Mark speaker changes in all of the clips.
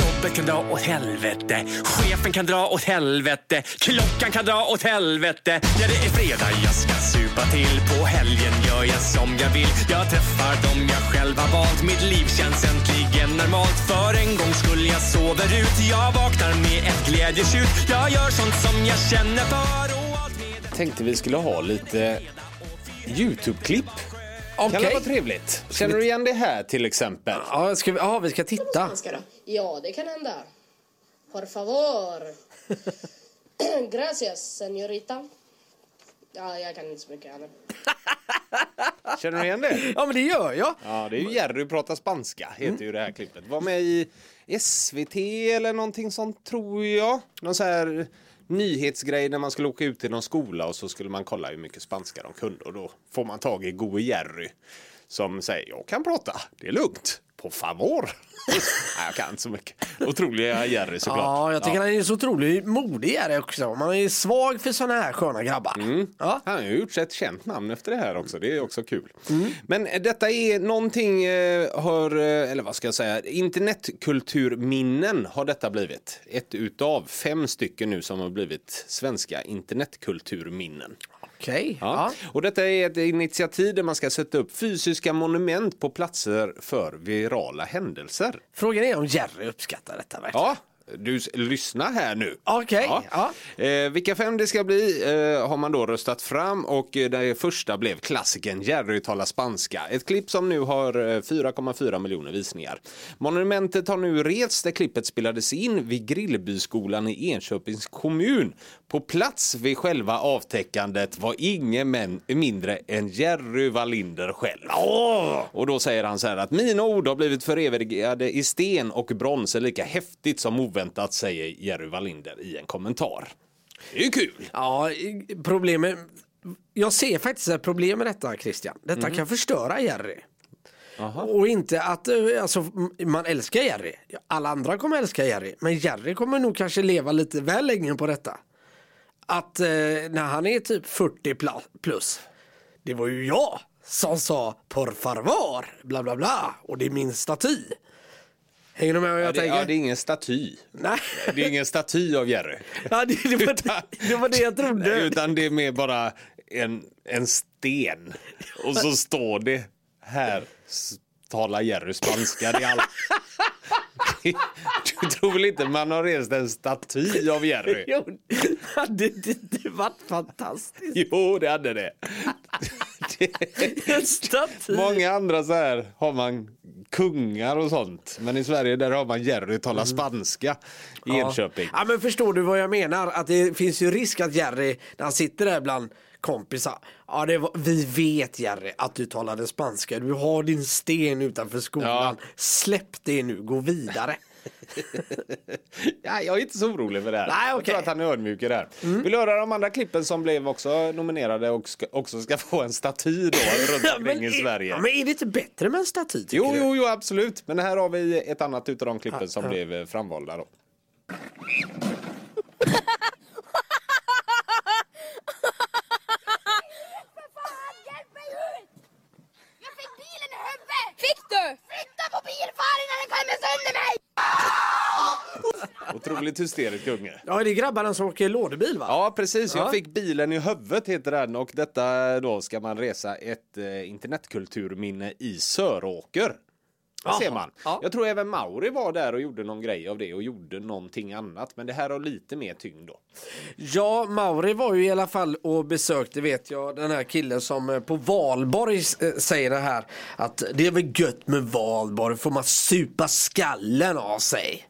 Speaker 1: Jobbet kan dra åt helvete. Chefen kan dra åt helvete. Klockan kan dra åt helvete. Ja, det är fredag, jag ska supa till. På helgen gör jag som jag vill. Jag träffar dem jag själv har valt. Mitt liv känns äntligen normalt. För en gång skulle jag sover ut. Jag vaknar med ett glädjetjut. Jag gör sånt som jag känner för. och allt med ett-
Speaker 2: Tänkte vi skulle ha lite YouTube-klipp. Kan det
Speaker 3: Okej.
Speaker 2: vara trevligt? Känner du igen det här till exempel?
Speaker 3: Ja, ska vi, ja, vi ska titta.
Speaker 4: Spanska då? Ja, det kan hända. Por favor. Gracias, señorita. Ja, jag kan inte så mycket annat.
Speaker 2: Känner du igen det?
Speaker 3: Ja, men det gör jag.
Speaker 2: Ja, det är ju Jerry pratar spanska, heter ju det här klippet. Var med i SVT eller någonting sånt, tror jag. Någon så här nyhetsgrej när man skulle åka ut till någon skola och så skulle man kolla hur mycket spanska de kunde och då får man tag i gode Jerry som säger jag kan prata, det är lugnt, på favor. Nej, jag kan inte så mycket. Otroliga Jerry såklart.
Speaker 3: Ja, jag tycker han är så otroligt modig är det också. Man är svag för såna här sköna grabbar. Ja.
Speaker 2: Han har ju gjort sig ett känt namn efter det här också. Det är också kul. Men eh, detta är någonting, eh, har, eh, eller vad ska jag säga, internetkulturminnen har detta blivit. Ett utav fem stycken nu som har blivit svenska internetkulturminnen.
Speaker 3: Okej.
Speaker 2: Ja.
Speaker 3: Ja.
Speaker 2: Och detta är ett initiativ där man ska sätta upp fysiska monument på platser för virala händelser.
Speaker 3: Frågan är om Jerry uppskattar detta verkligen.
Speaker 2: Ja, du s- lyssna här nu.
Speaker 3: Okej,
Speaker 2: Eh, vilka fem det ska bli eh, har man då röstat fram och eh, det första blev klassikern Jerry talar spanska. Ett klipp som nu har eh, 4,4 miljoner visningar. Monumentet har nu rests där klippet spelades in vid Grillbyskolan i Enköpings kommun. På plats vid själva avtäckandet var ingen men, mindre än Jerry Wallinder själv. Och då säger han så här att mina ord har blivit förevigade i sten och brons är lika häftigt som oväntat säger Jerry Wallinder i en kommentar. Det är ju kul!
Speaker 3: Ja, problemet... Jag ser faktiskt ett problem med detta Christian. Detta
Speaker 2: Mm.
Speaker 3: kan förstöra Jerry. Och inte att eh, alltså, m- man älskar Jerry. Alla andra kommer älska Jerry. Men Jerry kommer nog kanske leva lite väl länge på detta. Att eh, när han är typ 40 pla- plus. Det var ju jag som sa por favor bla bla bla. Och det är min staty. Hänger du med vad jag
Speaker 2: Ja, det,
Speaker 3: tänker?
Speaker 2: ja, det är ingen staty.
Speaker 3: Nej.
Speaker 2: Det är ingen staty av Jerry.
Speaker 3: Ja, det, det, var, det, det var det jag trodde.
Speaker 2: Utan det är mer bara en, en sten. Och så står det här s- talar Jerry spanska. Det är allt. Du tror väl inte man har rest en staty av Jerry?
Speaker 3: Jo, hade det inte varit fantastiskt?
Speaker 2: Jo, det hade det.
Speaker 3: En staty.
Speaker 2: Många andra så här har man kungar och sånt. Men i Sverige där har man Jerry talar spanska i Enköping.
Speaker 3: Mm. Ja, men förstår du vad jag menar? Att det finns ju risk att Jerry, när han sitter där bland kompisar. Ja, det var, vi vet Jerry att du talade spanska. Du har din sten utanför skolan.
Speaker 2: Ja.
Speaker 3: Släpp det nu, gå vidare.
Speaker 2: Ja, jag är inte så orolig för det här.
Speaker 3: Nej,
Speaker 2: Jag
Speaker 3: okej. Mm.
Speaker 2: tror att han är ödmjuk i det här. Vill du höra de andra klippen som blev också nominerade och ska, också ska få en staty då runt omkring i
Speaker 3: är-
Speaker 2: Sverige?
Speaker 3: Ja, men är det inte bättre med en staty? tycker
Speaker 2: Jo,
Speaker 3: du?
Speaker 2: jo, jo, absolut. Men här har vi ett annat utav de klippen som blev eh, framvalda då.
Speaker 5: Fan, hjälp mig ut! Jag fick bilen i huvudet! Fick du? Flytta på bilfaren innan den klämmer sönder mig!
Speaker 2: Otroligt hysterisk unge.
Speaker 3: Ja, det är grabbarna som åker lådbil va?
Speaker 2: Ja, precis. Jag
Speaker 3: Ja.
Speaker 2: fick bilen i huvudet heter den och detta då ska man resa ett eh, internetkulturminne i Söråker. Där
Speaker 3: Jaha.
Speaker 2: ser man.
Speaker 3: Ja.
Speaker 2: Jag tror även Mauri var där och gjorde någon grej av det och gjorde någonting annat. Men det här har lite mer tyngd då.
Speaker 3: Ja, Mauri var ju i alla fall och besökte, vet jag, den här killen som eh, på Valborg eh, säger det här att det är väl gött med Valborg, får man supa skallen av sig.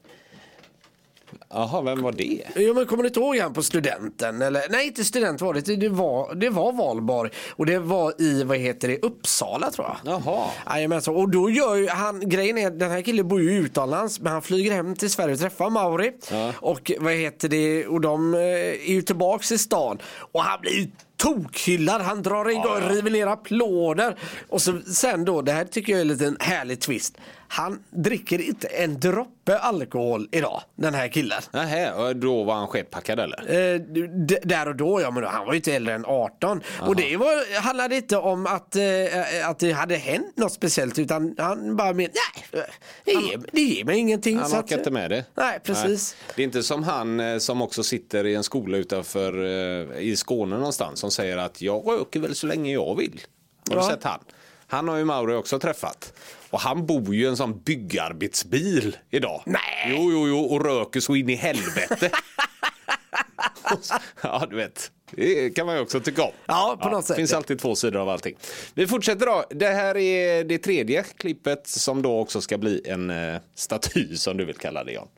Speaker 2: Jaha, vem var det?
Speaker 3: Jo men kommer du inte ihåg han på studenten? Eller, nej inte student var det, det var, det var Valborg och det var i, vad heter det, Uppsala tror jag.
Speaker 2: Jaha.
Speaker 3: Jajamensan, och då gör ju han, grejen är den här killen bor ju utomlands men han flyger hem till Sverige och träffar Mauri. Och vad heter det, och de eh, är ju tillbaks i stan och han blir ju tokhyllad, han drar igång, river ner applåder. Och så, sen då, det här tycker jag är en liten härlig twist. Han dricker inte en droppe alkohol idag, den här killen.
Speaker 2: Nähä, och då var han sketpackad eller?
Speaker 3: Eh, d- där och då, ja men han var ju inte äldre än 18. Och det var, handlade inte om att, eh, att det hade hänt något speciellt utan han bara menade, nej, det ger, det ger mig ingenting.
Speaker 2: Han
Speaker 3: så att-
Speaker 2: orkar inte med det.
Speaker 3: Nej, precis.
Speaker 2: Nej. Det är inte som han eh, som också sitter i en skola utanför eh, i Skåne någonstans som säger att jag röker väl så länge jag vill. Har du
Speaker 3: Ja.
Speaker 2: sett han? Han har ju Mauro också träffat. Och han bor ju i en sån byggarbetsbil idag.
Speaker 3: Nej.
Speaker 2: Jo, jo, jo, och röker så in i helvete. ja, du vet. Det kan man ju också tycka om.
Speaker 3: Ja, på något sätt.
Speaker 2: finns alltid två sidor av allting. Vi fortsätter då. Det här är det tredje klippet som då också ska bli en eh, staty som du vill kalla det Jan.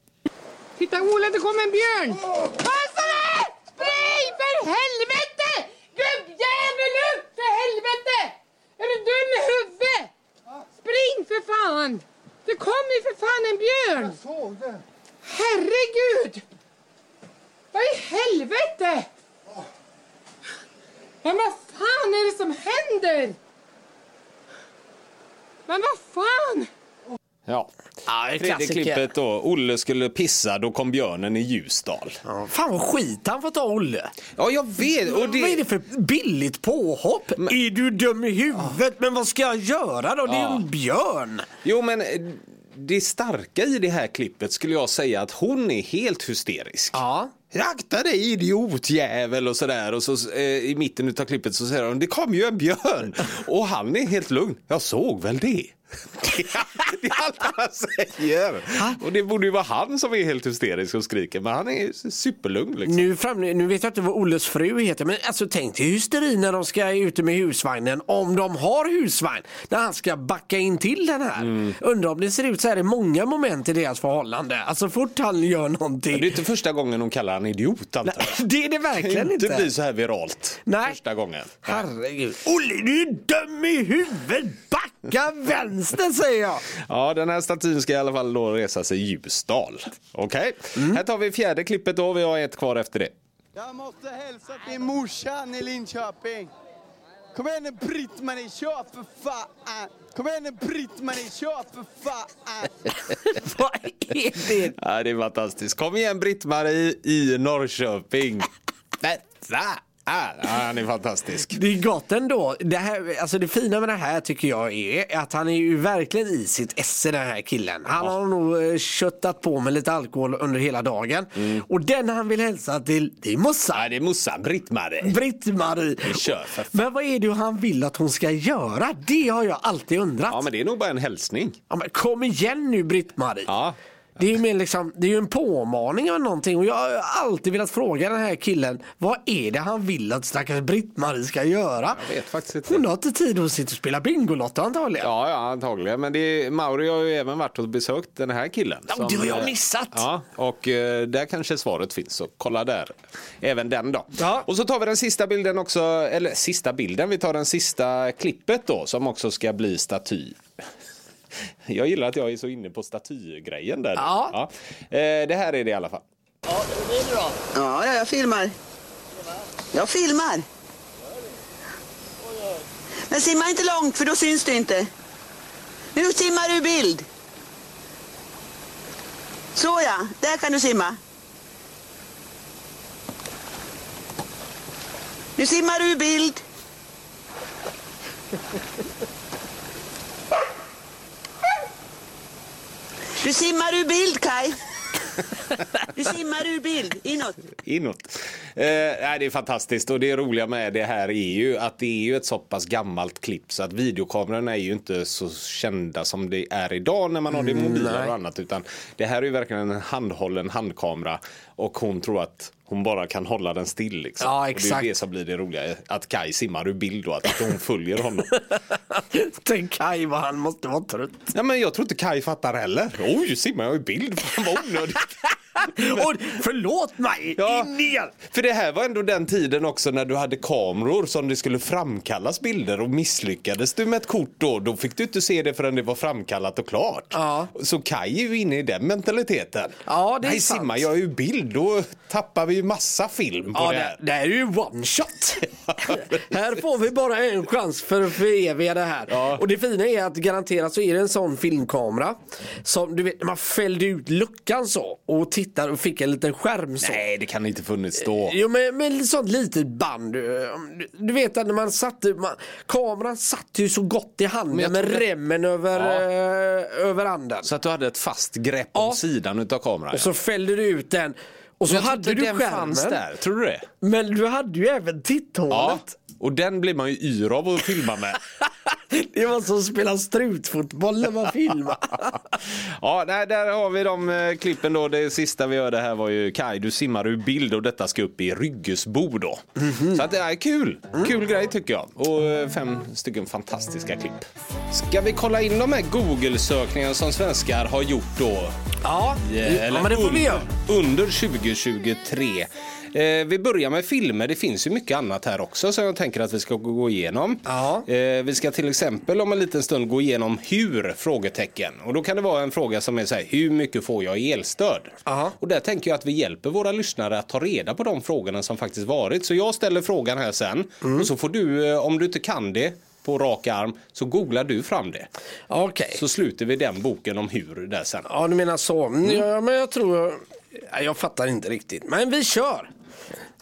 Speaker 6: Titta Ola, det kom en björn!
Speaker 5: Passa dig! Spring för helvete! Gubbjävel upp för helvete!
Speaker 6: Är du dum i huvudet? Spring för fan! Det kom ju för fan en björn! Jag såg det. Herregud! Vad i helvete? Men vad fan är det som händer? Men vad fan?
Speaker 2: Ja.
Speaker 3: Ja, det är
Speaker 2: Tredje
Speaker 3: klassiker.
Speaker 2: klippet då. Olle skulle pissa, då kom björnen i Ljusdal.
Speaker 3: Ja, Fan vad skit han får ta Olle.
Speaker 2: Ja, jag vet. Och
Speaker 3: Vad är
Speaker 2: det...
Speaker 3: det för billigt påhopp? Är du dum i huvudet? Men vad ska jag göra då? Det är ju en björn.
Speaker 2: Jo, men eh, det starka i det här klippet skulle jag säga att hon är helt hysterisk.
Speaker 3: Ja.
Speaker 2: Akta dig idiotjävel och sådär och så eh, i mitten utav klippet så säger hon det kom ju en björn och han är helt lugn. Jag såg väl det. det är allt han säger. Och det borde ju vara han som är helt hysterisk och skriker men han är superlugn liksom.
Speaker 3: Nu, fram, nu vet jag inte vad Olles fru heter men alltså tänk dig hysterin när de ska ut med husvagnen om de har husvagn. När han ska backa in till den här. Undrar om det ser ut så här i många moment i deras förhållande. Alltså fort han gör någonting.
Speaker 2: Det är inte första gången hon kallar han idiot antar jag.
Speaker 3: Det är det verkligen
Speaker 2: Det
Speaker 3: inte.
Speaker 2: blir så här viralt
Speaker 3: Nej.
Speaker 2: första gången.
Speaker 3: Herregud. Olle du är dum i huvudet. Backa vänster säger jag.
Speaker 2: Ja, den här statyn ska i alla fall då resa sig i Ljusdal. Okej,
Speaker 3: Mm.
Speaker 2: här tar vi fjärde klippet då. Vi har ett kvar efter det.
Speaker 7: Jag måste hälsa till morsan i Linköping. Kom igen nu Britt-Marie, kör för fan! Kom igen nu Britt-Marie, kör för fan!
Speaker 3: Vad är det?
Speaker 2: Ja, det är fantastiskt. Kom igen Britt-Marie i Norrköping. Detta är... Ja, han är fantastisk.
Speaker 3: Det är gott ändå. Det, här, alltså det fina med det här tycker jag är att han är ju verkligen i sitt esse den här killen. Han har nog eh, köttat på med lite alkohol under hela dagen.
Speaker 2: Mm.
Speaker 3: Och den han vill hälsa till, det är
Speaker 2: Ja,
Speaker 3: Mossan.
Speaker 2: det är morsan Britt-Marie.
Speaker 3: Britt-Marie.
Speaker 2: kör, för fan.
Speaker 3: Men vad är det han vill att hon ska göra? Det har jag alltid undrat.
Speaker 2: Ja, men det är nog bara en hälsning.
Speaker 3: Ja, men kom igen nu Britt-Marie.
Speaker 2: Ja.
Speaker 3: Det är, ju mer liksom, det är ju en påmaning av någonting och jag har ju alltid velat fråga den här killen vad är det han vill att stackars Britt-Marie ska göra?
Speaker 2: Jag vet faktiskt inte.
Speaker 3: Hon har inte tid, hon sitter och spelar Bingolotto antagligen.
Speaker 2: Ja, ja antagligen. Men det är, Mauri har ju även varit och besökt den här killen. eh,
Speaker 3: Ja, det har jag missat.
Speaker 2: Ja, och eh, där kanske svaret finns. Så kolla där. Även den då.
Speaker 3: Ja.
Speaker 2: Och så tar vi den sista bilden också. Eller sista bilden. Vi tar den sista klippet då. Som också ska bli staty. Jag gillar att jag är så inne på statygrejen där. nu.
Speaker 3: Ja.
Speaker 2: Ja. Eh, Det här är det i alla fall.
Speaker 8: Ja, ja, jag filmar. Jag filmar. Men simma inte långt för då syns du inte. Nu simmar du i bild. Så ja, där kan du simma. Nu simmar du i bild. Du simmar ur bild, Kai. Du simmar ur bild, inåt.
Speaker 2: Inåt. Eh, nej, det är fantastiskt och det roliga med det här är ju att det är ju ett så pass gammalt klipp så att videokamerorna är ju inte så kända som det är idag när man har det
Speaker 3: Mm,
Speaker 2: i mobiler och annat utan det här är ju verkligen en handhållen handkamera och hon tror att hon bara kan hålla den still. Liksom.
Speaker 3: Ja,
Speaker 2: Och
Speaker 3: exakt.
Speaker 2: det är ju det som blir det roliga, att Kai simmar ur bild och att inte hon följer honom.
Speaker 3: Tänk Kaj vad han måste vara trött.
Speaker 2: ja, men jag tror inte Kai fattar heller. Oj, simmar jag i bild? Fan vad onödigt.
Speaker 3: Och, förlåt mig!
Speaker 2: Ja.
Speaker 3: In igen!
Speaker 2: För det här var ändå den tiden också när du hade kameror som det skulle framkallas bilder och misslyckades du med ett kort då, då fick du inte se det förrän det var framkallat och klart.
Speaker 3: Ja.
Speaker 2: Så Kaj är ju inne i den mentaliteten.
Speaker 3: Ja, det är
Speaker 2: Nej,
Speaker 3: sant.
Speaker 2: Simma, jag är ju bild, då tappar vi ju massa film på
Speaker 3: Ja,
Speaker 2: det
Speaker 3: det,
Speaker 2: här.
Speaker 3: det här är ju one shot. här får vi bara en chans för att föreviga det här.
Speaker 2: Ja.
Speaker 3: Och det fina är att garanterat så är det en sån filmkamera som du vet, man fällde ut luckan så och tittar och fick en liten skärm så.
Speaker 2: Nej, det kan inte funnits då.
Speaker 3: Jo men, men sånt litet band. Du, du vet att när man satte, man, kameran satt ju så gott i
Speaker 2: Men
Speaker 3: handen
Speaker 2: jag
Speaker 3: med
Speaker 2: tror det-
Speaker 3: remmen över,
Speaker 2: Ja.
Speaker 3: eh, över anden.
Speaker 2: Så att du hade ett fast grepp om
Speaker 3: Ja.
Speaker 2: sidan utav kameran.
Speaker 3: Och så fällde du ut den och så
Speaker 2: Jag tror
Speaker 3: hade
Speaker 2: inte
Speaker 3: du
Speaker 2: den fanns
Speaker 3: skärmen.
Speaker 2: där, tror du det?
Speaker 3: Men du hade ju även
Speaker 2: Ja,
Speaker 3: titthålet.
Speaker 2: och den blir man ju yr av att filma med.
Speaker 3: Det var som att spela strutfotboll när man filmar.
Speaker 2: ja, nej, där har vi de eh, klippen då. Det sista vi hörde här var ju Kaj, du simmar ur bild och detta ska upp i Ryggesbo då. Så att det är kul. Kul grej tycker jag. Och eh, fem stycken fantastiska klipp. Ska vi kolla in de här Google-sökningarna som svenskar har gjort då?
Speaker 3: ja,
Speaker 2: Eh, eller
Speaker 3: ja men det får vi göra.
Speaker 2: under, under 2023. Eh, vi börjar med filmer. Det finns ju mycket annat här också som jag tänker att vi ska gå gå igenom.
Speaker 3: Ja.
Speaker 2: Eh, vi ska till exempel om en liten stund gå igenom hur? frågetecken. Och Då kan det vara en fråga som är så här, hur mycket får jag i elstöd?
Speaker 3: Ja.
Speaker 2: Och där tänker jag att vi hjälper våra lyssnare att ta reda på de frågorna som faktiskt varit. Så jag ställer frågan här sen
Speaker 3: Mm.
Speaker 2: och så får du, eh, om du inte kan det på rak arm, så googlar du fram det.
Speaker 3: Okej.
Speaker 2: Så sluter vi den boken om hur där sen.
Speaker 3: Ja, du menar så. Mm, Ja, men jag tror... Ja, jag fattar inte riktigt. Men vi kör.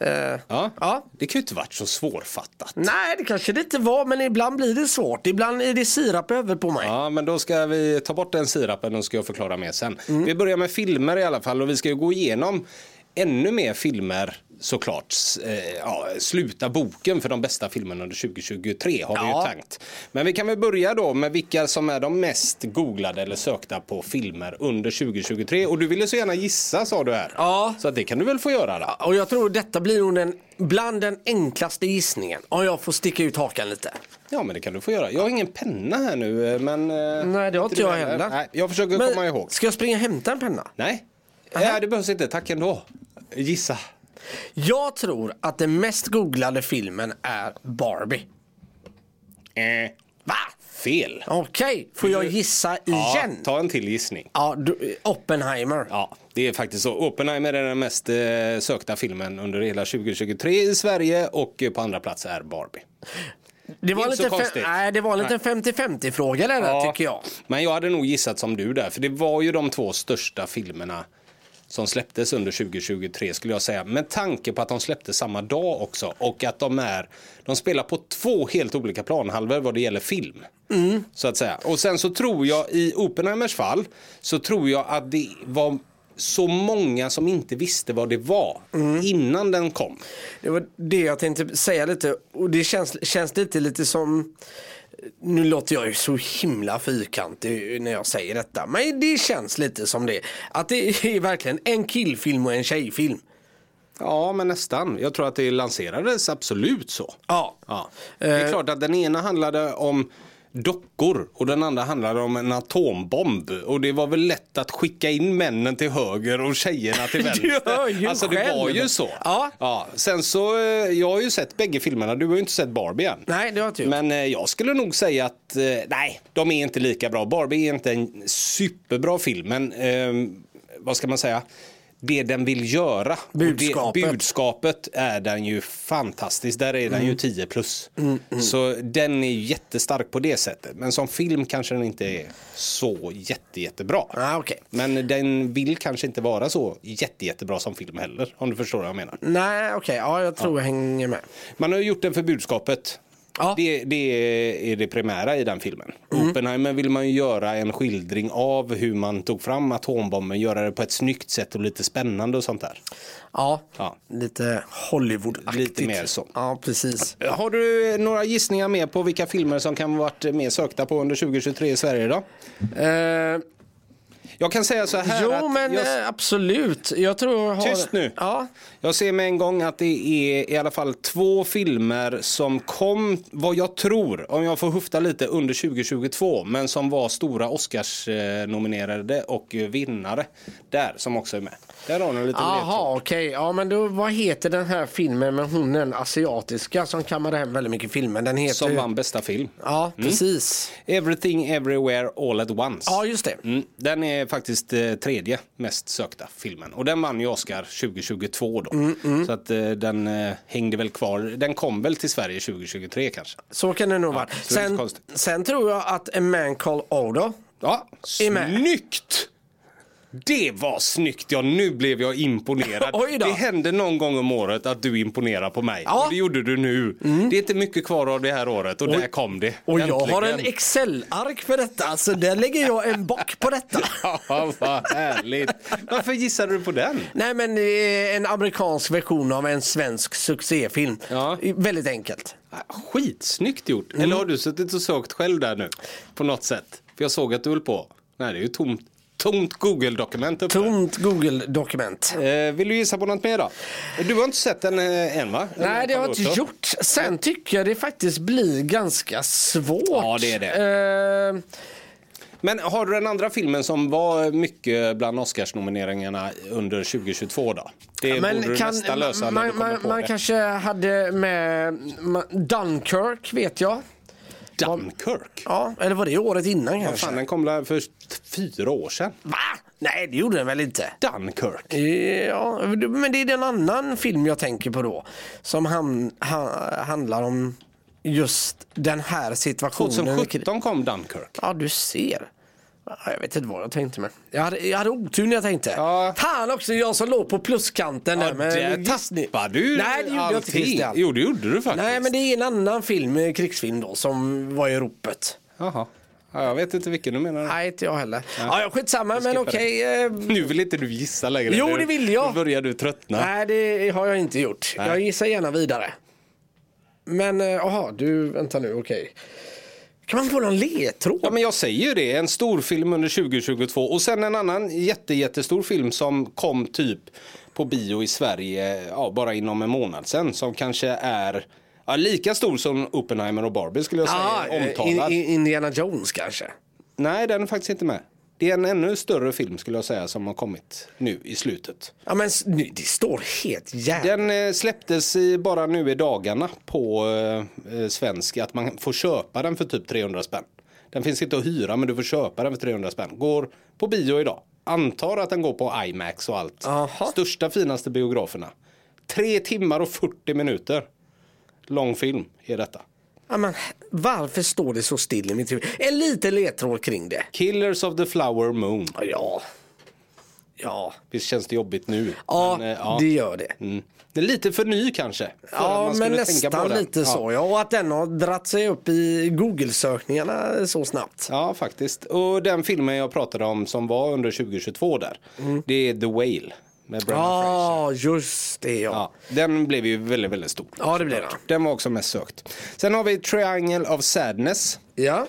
Speaker 3: Eh,
Speaker 2: Ja.
Speaker 3: Ja.
Speaker 2: Det kan ju inte varit så svårfattat.
Speaker 3: nej, det kanske det inte var, men ibland blir det svårt. Ibland är det sirap över på mig.
Speaker 2: Ja, men då ska vi ta bort den sirapen och ska jag förklara mer sen. Vi börjar med filmer i alla fall och vi ska ju gå igenom ännu mer filmer såklart. S- Eh, ja, sluta boken för de bästa filmerna under 2023 har vi
Speaker 3: Ja.
Speaker 2: ju tänkt. Men vi kan väl börja då med vilka som är de mest googlade eller sökta på filmer under 2023. Och du ville så gärna gissa sa du här.
Speaker 3: Ja.
Speaker 2: Så att det kan du väl få göra då.
Speaker 3: Och jag tror detta blir nog den, bland den enklaste gissningen. Om jag får sticka ut hakan lite.
Speaker 2: Ja, men det kan du få göra. Jag har ingen penna här nu, eh, men... eh,
Speaker 3: Nej, det har inte
Speaker 2: du
Speaker 3: jag
Speaker 2: heller.
Speaker 3: heller.
Speaker 2: Nej, jag försöker
Speaker 3: Men
Speaker 2: komma ihåg.
Speaker 3: Ska jag springa och hämta en penna?
Speaker 2: Nej. Nej, det behövs inte. Tack ändå. Gissa.
Speaker 3: Jag tror att den mest googlade filmen är Barbie.
Speaker 2: Eh. Va? Fel.
Speaker 3: Okej, får jag gissa igen?
Speaker 2: Ja, ta en till gissning.
Speaker 3: Ja, du, Oppenheimer.
Speaker 2: Ja, det är faktiskt så. Oppenheimer är den mest eh, sökta filmen under hela 2023 i Sverige och eh, på andra plats är Barbie.
Speaker 3: det, var
Speaker 2: inte
Speaker 3: en
Speaker 2: så
Speaker 3: liten
Speaker 2: konstigt.
Speaker 3: fem, nej, det var en liten 50-50 fråga det där tycker jag.
Speaker 2: Men jag hade nog gissat som du där, för det var ju de två största filmerna som släpptes under 2023 skulle jag säga. Med tanke på att de släpptes samma dag också och att de är, de spelar på två helt olika planhalvor vad det gäller film.
Speaker 3: Mm.
Speaker 2: Så att säga. Och sen så tror jag i Oppenheimers fall så tror jag att det var så många som inte visste vad det var
Speaker 3: Mm.
Speaker 2: innan den kom.
Speaker 3: Det var det jag tänkte säga lite och det känns, känns lite, lite som nu låter jag ju så himla fyrkantig när jag säger detta. Men det känns lite som det. Att det är verkligen en killfilm och en tjejfilm.
Speaker 2: Ja, men nästan. Jag tror att det lanserades absolut så.
Speaker 3: Ja. Eh.
Speaker 2: Ja. Det är klart att den ena handlade om dockor och den andra handlade om en atombomb. Och det var väl lätt att skicka in männen till höger och tjejerna till vänster.
Speaker 3: hör ju
Speaker 2: alltså det var
Speaker 3: själv.
Speaker 2: ju så.
Speaker 3: Ja.
Speaker 2: Sen så, eh, jag har ju sett bägge filmerna, du har ju inte sett Barbie än.
Speaker 3: Nej, det har jag inte gjort.
Speaker 2: Men eh, jag skulle nog säga att eh, nej, de är inte lika bra. Barbie är inte en superbra film, men ehm, vad ska man säga? Det den vill göra. och
Speaker 3: Budskapet.
Speaker 2: Det, budskapet är den ju fantastisk. Där är den
Speaker 3: Mm.
Speaker 2: ju 10 plus. Så den är jättestark på det sättet. Men som film kanske den inte är så jätte, jättebra.
Speaker 3: Ah, okej.
Speaker 2: Men den vill kanske inte vara så jätte, jättebra som film heller. Om du förstår vad jag menar.
Speaker 3: Nej, okej. Ja, jag tror jag hänger med.
Speaker 2: Man har ju gjort den för budskapet.
Speaker 3: Ja. Mm.
Speaker 2: Det, det är det primära i den filmen. Oppenheimer vill man ju göra en skildring av hur man tog fram atombomben, göra det på ett snyggt sätt och lite spännande och sånt där.
Speaker 3: Ja,
Speaker 2: Ja.
Speaker 3: lite Hollywood-aktigt.
Speaker 2: Lite mer så.
Speaker 3: Ja, precis.
Speaker 2: Har du eh, några gissningar med på vilka filmer som kan ha varit mer sökta på under 2023 i Sverige då?
Speaker 3: Eh,
Speaker 2: Jag kan säga så här
Speaker 3: Jo,
Speaker 2: att
Speaker 3: men
Speaker 2: jag,
Speaker 3: eh, absolut. Jag tror jag har...
Speaker 2: Tyst nu.
Speaker 3: Ja.
Speaker 2: jag ser med en gång att det är i alla fall två filmer som kom, vad jag tror, om jag får hufta lite, under 2022. Men som var stora Oscars-nominerade och eh, vinnare. Där, som också är med. Där har ni en liten ledtråd.
Speaker 3: Jaha, okej. Ja, men då, vad heter den här filmen med hon den asiatiska som kammade hem väldigt mycket filmer? Den heter
Speaker 2: Som Mm.
Speaker 3: ju...
Speaker 2: vann bästa film.
Speaker 3: Ja, precis.
Speaker 2: Everything Everywhere All At Once.
Speaker 3: Ja, just det.
Speaker 2: Mm, den är faktiskt eh, tredje mest sökta filmen. Och den vann ju Oscar 2022 då.
Speaker 3: Mm,
Speaker 2: Så att eh, den eh, hängde väl kvar. Den kom väl till Sverige 2023 kanske.
Speaker 3: Så kan det nog vara.
Speaker 2: så det är inte
Speaker 3: Sen,
Speaker 2: konstigt.
Speaker 3: sen tror jag att A Man Called Odo.
Speaker 2: Ja,
Speaker 3: Är med.
Speaker 2: snyggt! Det var snyggt! Ja, nu blev jag imponerad.
Speaker 3: Oj då.
Speaker 2: Det hände någon gång om året att du imponerar på mig.
Speaker 3: Ja. Mm.
Speaker 2: Och det gjorde du nu. Det är inte mycket kvar av det här året och där kom det.
Speaker 3: Och jag har en
Speaker 2: Äntligen.
Speaker 3: Excel-ark för detta, så där lägger jag en bock på detta.
Speaker 2: Ja, vad härligt. Varför gissade du på den?
Speaker 3: Nej men eh, en amerikansk version av en svensk succéfilm.
Speaker 2: Ja.
Speaker 3: Eh, Väldigt enkelt.
Speaker 2: Ah, Skitsnyggt gjort!
Speaker 3: Mm.
Speaker 2: Eller har du suttit och sökt själv där nu? På något sätt? För jag såg att du höll på. Nej, det är ju tomt, tomt Google-dokument uppe.
Speaker 3: Tomt Google-dokument.
Speaker 2: Eh, vill du gissa på något mer då? Du har inte sett den eh, än va?
Speaker 3: Nej det har jag inte gjort. Sen tycker jag det faktiskt blir ganska svårt.
Speaker 2: Ja, det är det.
Speaker 3: Eh,
Speaker 2: Men har du den andra filmen som var mycket bland Oscars-nomineringarna under 2022 då? Det borde du
Speaker 3: men kan,
Speaker 2: nästan lösa när du
Speaker 3: man,
Speaker 2: kommer
Speaker 3: man,
Speaker 2: på
Speaker 3: man
Speaker 2: det.
Speaker 3: kanske hade med man, Dunkirk vet jag.
Speaker 2: Dunkirk?
Speaker 3: Ja, eller var det året innan
Speaker 2: Vad
Speaker 3: kanske?
Speaker 2: fan, den kom väl för fyra år sedan?
Speaker 3: Va? Nej det gjorde den väl inte?
Speaker 2: Dunkirk?
Speaker 3: Ja, men det är en annan film jag tänker på då. Som han, han, handlar om just den här situationen.
Speaker 2: 2017 kom Dunkirk.
Speaker 3: Ja, du ser. Ja, Jag vet inte vad jag tänkte men. Jag hade, jag hade otur när jag tänkte.
Speaker 2: Ja.
Speaker 3: Fan också, jag som låg på pluskanten där med gissning.
Speaker 2: tappade du
Speaker 3: Nej, det gjorde jag inte
Speaker 2: allting.
Speaker 3: Christian.
Speaker 2: Jo, det gjorde du faktiskt.
Speaker 3: Nej, men det är en annan film, eh, krigsfilm då, som var i ropet.
Speaker 2: Jaha. Ja, jag vet inte vilken du menar.
Speaker 3: Nej, inte jag heller. Ja, ja skitsamma, men
Speaker 2: skippar
Speaker 3: okej. eh,
Speaker 2: Nu vill inte du gissa längre.
Speaker 3: Jo,
Speaker 2: Nu-
Speaker 3: det vill jag.
Speaker 2: Nu börjar du tröttna.
Speaker 3: Nej, det har jag inte gjort.
Speaker 2: Nej.
Speaker 3: Jag gissar gärna vidare. Men, eh, jaha, du, vänta nu, okej. Kan man få någon ledtråd?
Speaker 2: Ja, men jag säger ju det. En stor film under 2022 och sen en annan jätte, jättestor film som kom typ på bio i Sverige ja, bara inom en månad sen som kanske är ja, lika stor som Oppenheimer och Barbie skulle jag säga.
Speaker 3: Ah, eh,
Speaker 2: omtalad.
Speaker 3: in, in, Indiana Jones kanske?
Speaker 2: Nej, den är faktiskt inte med. Det är en ännu större film skulle jag säga som har kommit nu i slutet.
Speaker 3: Ja, men s- nu, det står helt jävligt.
Speaker 2: Den eh, släpptes i, bara nu i dagarna på eh, eh, svensk. Att man får köpa den för typ 300 spänn. Den finns inte att hyra men du får köpa den för 300 spänn. Går på bio idag. Antar att den går på IMAX och allt.
Speaker 3: Aha.
Speaker 2: Största finaste biograferna. Tre timmar och 40 minuter. Lång film är detta.
Speaker 3: Ja, men, varför står det så still i mitt huvud? En liten ledtråd kring det.
Speaker 2: Killers of the flower moon.
Speaker 3: Ja, Ja. Ja,
Speaker 2: Visst känns det jobbigt nu?
Speaker 3: ja
Speaker 2: men, eh, ja.
Speaker 3: det gör det.
Speaker 2: Mm. Den är lite för ny kanske. för att
Speaker 3: Ja,
Speaker 2: man
Speaker 3: men
Speaker 2: skulle tänka på
Speaker 3: nästan
Speaker 2: den.
Speaker 3: lite
Speaker 2: Ja.
Speaker 3: så. Ja, och att den har dratt sig upp i Google-sökningarna så snabbt.
Speaker 2: Ja, faktiskt. Och den filmen jag pratade om som var under 2022 där,
Speaker 3: Mm.
Speaker 2: det är The Whale med Brendan
Speaker 3: Ah.
Speaker 2: Fraser.
Speaker 3: Ja, just det ja.
Speaker 2: Ja, den blev ju väldigt, väldigt stor.
Speaker 3: Ja, det blev den.
Speaker 2: Den var också mest sökt. Sen har vi Triangle of Sadness.
Speaker 3: Ja.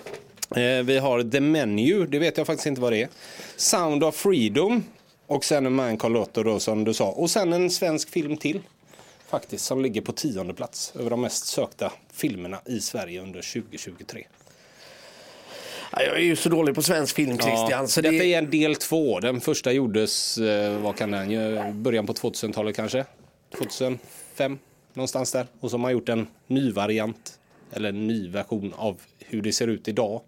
Speaker 2: Eh, vi har The Menu, det vet jag faktiskt inte vad det är. Sound of Freedom. Och sen en Man Called Otto då som du sa. Och sen en svensk film till. Faktiskt, som ligger på tionde plats över de mest sökta filmerna i Sverige under 2023.
Speaker 3: Ja, Jag är ju så dålig på svensk film Christian. så det...
Speaker 2: Detta är en del två. Den första gjordes, eh, vad kan den, eh, början på 2000-talet kanske? 2005, någonstans där. Och så har man gjort en ny variant, eller en ny version av hur det ser ut idag.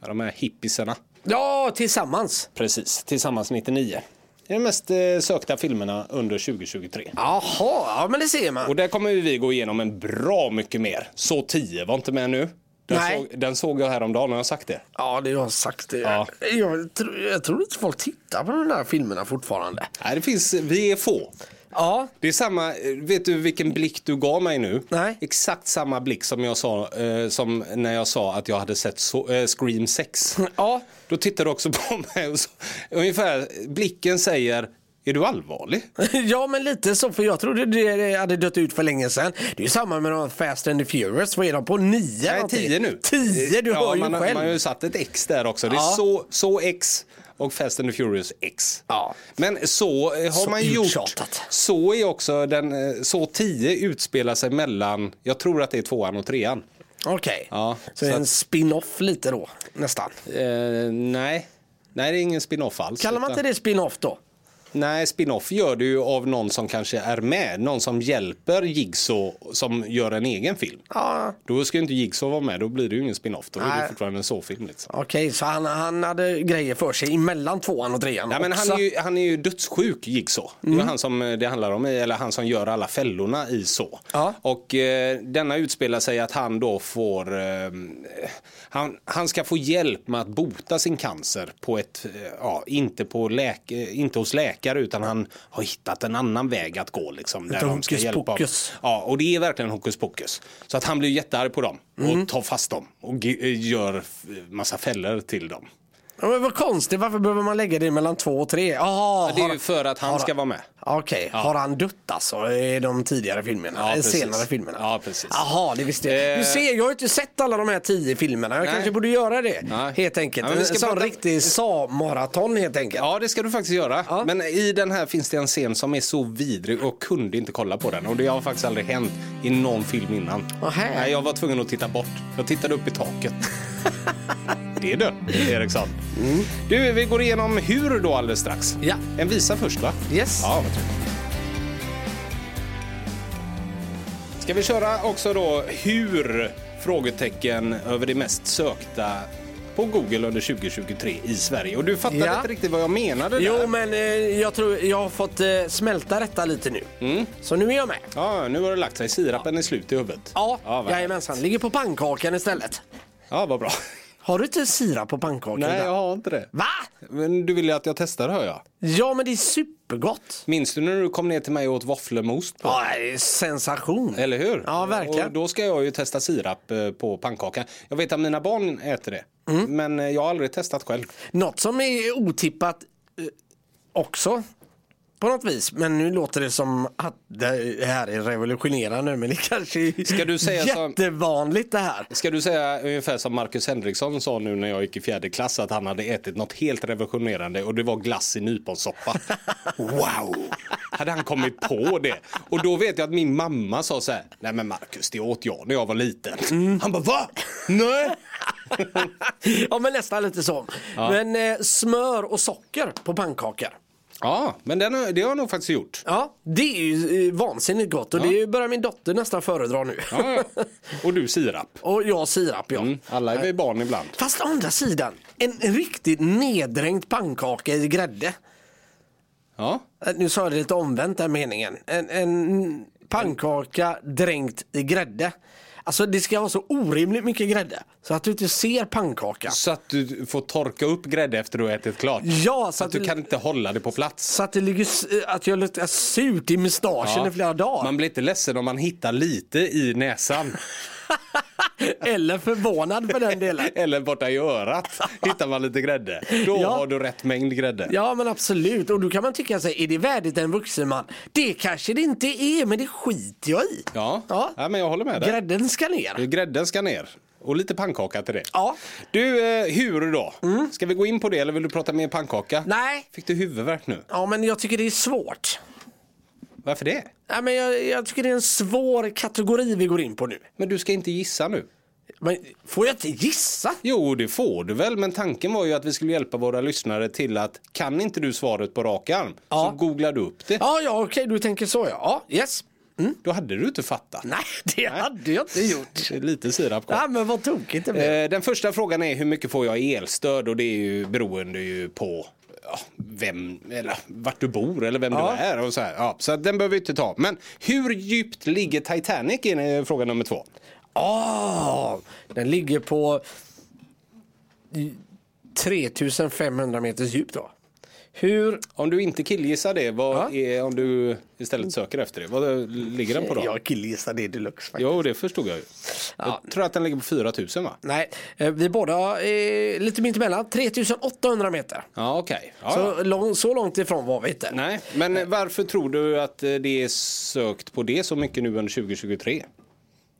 Speaker 2: Med de här hippisarna.
Speaker 3: Ja, tillsammans.
Speaker 2: Precis, tillsammans 99. Det är de mest eh, sökta filmerna under 2023.
Speaker 3: Jaha, ja men det ser man.
Speaker 2: Och där kommer vi gå igenom en bra mycket mer. Så 10 var inte med nu. Den,
Speaker 3: Nej.
Speaker 2: såg, den såg jag häromdagen, har jag sagt det?
Speaker 3: Ja, det har jag sagt. Det.
Speaker 2: Ja.
Speaker 3: Jag, tror, jag tror inte folk tittar på de där filmerna fortfarande.
Speaker 2: Nej, det finns, vi är få.
Speaker 3: Ja,
Speaker 2: Det är samma, eh, vet du vilken blick du gav mig nu?
Speaker 3: Nej.
Speaker 2: Exakt samma blick som jag sa eh, som när jag sa att jag hade sett so- eh, Scream 6.
Speaker 3: ja.
Speaker 2: Då tittar du också på mig och så, ungefär blicken säger är du allvarlig?
Speaker 3: ja, men lite så. För jag trodde det hade dött ut för länge sedan. Det är ju samma med de här Fast and the Furious. Vad är de på? Nio?
Speaker 2: Nej,
Speaker 3: någonting?
Speaker 2: tio nu.
Speaker 3: Tio, du
Speaker 2: ja,
Speaker 3: hör ju
Speaker 2: man, har-
Speaker 3: själv.
Speaker 2: Man har ju satt ett X där också. Det är
Speaker 3: Ja.
Speaker 2: så, så X och Fast and the Furious X.
Speaker 3: Ja.
Speaker 2: Men så eh, har
Speaker 3: Så
Speaker 2: man gjort.
Speaker 3: uttjatat.
Speaker 2: Så är också den, eh, så 10 utspelar sig mellan, jag tror att det är tvåan och trean.
Speaker 3: Okej,
Speaker 2: Ja,
Speaker 3: så det
Speaker 2: så
Speaker 3: är en
Speaker 2: att-
Speaker 3: spin-off lite då, nästan.
Speaker 2: Eh, nej. Nej, det är ingen spin-off alls.
Speaker 3: Kallar man
Speaker 2: utan-
Speaker 3: inte det spin-off då?
Speaker 2: Nej, spin-off gör du ju av någon som kanske är med. Någon som hjälper Jigsaw som gör en egen film.
Speaker 3: Ja,
Speaker 2: Då ska ju inte Jigsaw vara med, då blir det ju ingen spin-off. Då är det
Speaker 3: Nej.
Speaker 2: fortfarande en såfilm. Liksom.
Speaker 3: okej, så han, han hade grejer för sig emellan tvåan och trean
Speaker 2: Nej, men han,
Speaker 3: också. Mm.
Speaker 2: är ju, han är ju dödssjuk Jigsaw. Det är han som eh, det handlar om, eller han som gör alla fällorna i så.
Speaker 3: Ja.
Speaker 2: Och eh, denna utspelar sig att han då får, eh, han, han ska få hjälp med att bota sin cancer på ett, eh, ja, inte, på läk, eh, inte hos läkare utan han har hittat en annan väg att gå liksom. Där
Speaker 3: Lite
Speaker 2: de ska
Speaker 3: hokus
Speaker 2: hjälpa honom.
Speaker 3: pokus.
Speaker 2: Ja, och det är verkligen hokus pokus. Så att han blir jättearg på dem
Speaker 3: Mm.
Speaker 2: och tar fast dem och ge- gör f- massa fällor till dem.
Speaker 3: Ja, Men vad konstigt, varför behöver man lägga det mellan två och tre? Jaha,
Speaker 2: Ja, det är
Speaker 3: har-
Speaker 2: ju för att han
Speaker 3: har-
Speaker 2: ska vara med.
Speaker 3: Okej, har han dött alltså i de tidigare filmerna?
Speaker 2: Ja,
Speaker 3: Ja,
Speaker 2: precis.
Speaker 3: senare filmerna?
Speaker 2: Ja, precis.
Speaker 3: Jaha, det visste jag.
Speaker 2: Eh.
Speaker 3: Du ser, jag har ju inte sett alla de här tio filmerna. Jag
Speaker 2: Nej.
Speaker 3: kanske borde göra det,
Speaker 2: Nej.
Speaker 3: helt enkelt.
Speaker 2: Ja, men vi
Speaker 3: en
Speaker 2: ska
Speaker 3: sån
Speaker 2: prata-
Speaker 3: riktig SA-maraton helt enkelt.
Speaker 2: Ja, det ska du faktiskt göra.
Speaker 3: Ja.
Speaker 2: Men i den här finns det en scen som är så vidrig och kunde inte kolla på den. Och det har faktiskt aldrig hänt i någon film innan.
Speaker 3: Ahä.
Speaker 2: Nej, jag var tvungen att titta bort. Jag tittade upp i taket. det är du, Eriksson. Du, vi går igenom hur då alldeles strax.
Speaker 3: Mm. Ja.
Speaker 2: En visa först, va?
Speaker 3: Yes.
Speaker 2: Ja, vad trevligt. Ska vi köra också då hur frågetecken över det mest sökta på Google under 2023 i Sverige. Och du fattar
Speaker 3: Ja.
Speaker 2: inte riktigt vad jag menade där.
Speaker 3: Jo, men eh, jag tror jag har fått eh, smälta detta lite nu. Så nu är jag med.
Speaker 2: Mm. Ja, nu har det lagt sig. Sirapen är slut i huvudet.
Speaker 3: Ja,
Speaker 2: ja, vad-
Speaker 3: jajamensan. Ligger på pannkakan istället.
Speaker 2: ja vad bra.
Speaker 3: Har du inte sirap på pannkakan?
Speaker 2: Nej,
Speaker 3: där?
Speaker 2: jag har inte det.
Speaker 3: Va?
Speaker 2: Men du ville ju att jag testar hör jag.
Speaker 3: Ja, men det är supergott.
Speaker 2: Minns du när du kom ner till mig och åt våfflemost? På?
Speaker 3: Ja, det är sensation.
Speaker 2: Eller hur?
Speaker 3: Ja, verkligen.
Speaker 2: Och då ska jag ju testa sirap eh, på pannkakan. Jag vet att mina barn äter det.
Speaker 3: Mm.
Speaker 2: Men eh, jag har aldrig testat själv.
Speaker 3: Något som är otippat eh, också på något vis, men nu låter det som att det här är revolutionerande men det kanske är
Speaker 2: Ska du säga som-
Speaker 3: jättevanligt det här.
Speaker 2: Ska du säga ungefär som Marcus Henriksson sa nu när jag gick i fjärde klass att han hade ätit något helt revolutionerande och det var glass i nyponsoppa. Wow! Hade han kommit på det? Och då vet jag att min mamma sa så här, nej men Marcus det åt jag när jag var liten. Han bara va? Nej!
Speaker 3: Ja men nästan lite så. Men eh, smör och socker på pannkakor.
Speaker 2: Ja, men den, har- det har jag nog faktiskt gjort.
Speaker 3: Ja, det är ju eh, vansinnigt gott och det börjar min dotter nästan föredra nu.
Speaker 2: Ja, ja. Och du sirap.
Speaker 3: och jag sirap ja.
Speaker 2: Mm, alla är vi barn ibland.
Speaker 3: Fast å andra sidan, en riktigt neddränkt pannkaka i grädde.
Speaker 2: Ja.
Speaker 3: Eh, Nu sa jag det lite omvänt den meningen. En, en pannkaka dränkt i grädde. Alltså det ska vara så orimligt mycket grädde så att du inte ser pannkakan.
Speaker 2: Så att du får torka upp grädde efter du har ätit klart.
Speaker 3: Ja, så
Speaker 2: Så att
Speaker 3: att,
Speaker 2: du
Speaker 3: det-
Speaker 2: kan inte hålla det på plats.
Speaker 3: så att det ligger, s- eh, att jag luktar surt i mustaschen i flera dagar.
Speaker 2: Man blir inte ledsen om man hittar lite i näsan.
Speaker 3: Eller förvånad för den delen.
Speaker 2: Eller borta i örat hittar man lite grädde. Då
Speaker 3: Ja.
Speaker 2: har du rätt mängd grädde.
Speaker 3: Ja men absolut och då kan man tycka sig, är det värdigt en vuxen man? Det kanske det inte är men det skiter jag i.
Speaker 2: Ja. Ja, men jag håller med dig.
Speaker 3: Grädden ska ner.
Speaker 2: Grädden ska ner. Och lite pannkaka till det.
Speaker 3: Ja. Mm.
Speaker 2: Du, eh, hur då? Ska vi gå in på det eller vill du prata mer pannkaka?
Speaker 3: Nej,
Speaker 2: Fick du huvudvärk nu?
Speaker 3: ja men jag tycker det är svårt.
Speaker 2: Varför det?
Speaker 3: Ja, men jag, jag tycker det är en svår kategori vi går in på nu.
Speaker 2: Men du ska inte gissa nu.
Speaker 3: Men får jag inte gissa?
Speaker 2: Jo, det får du väl. Men tanken var ju att vi skulle hjälpa våra lyssnare till att kan inte du svaret på rak arm
Speaker 3: Ja.
Speaker 2: så googlar du upp det.
Speaker 3: Ja, ja, okej, du tänker så ja. Ja, yes.
Speaker 2: Då hade du inte fattat.
Speaker 3: Nej, det hade jag inte gjort.
Speaker 2: Det är Lite sirap kvar.
Speaker 3: Ja, men vad tokigt det blev.
Speaker 2: Eh, Den första frågan är hur mycket får jag i elstöd och det är ju beroende ju på ja, vem eller vart du bor eller vem
Speaker 3: Ja.
Speaker 2: du är och så här. Ja, så att den behöver vi inte ta. Men hur djupt ligger Titanic i eh, fråga nummer två?
Speaker 3: Ah, den ligger på i 3500 meters djup då. Hur?
Speaker 2: Om du inte killgissar det, vad
Speaker 3: Ja.
Speaker 2: är, om du istället söker efter det, vad eh, ligger den på då?
Speaker 3: Jag killgissar det deluxe faktiskt.
Speaker 2: Jo, det förstod jag ju. Jag tror att den ligger på 4000 va?
Speaker 3: Nej, eh, vi båda är lite mittemellan, 3800 meter.
Speaker 2: Ja, okej. Ja, ja.
Speaker 3: Så, lång, så långt ifrån var vi inte.
Speaker 2: Nej, men eh, varför tror du att eh, det är sökt på det så mycket nu under 2023?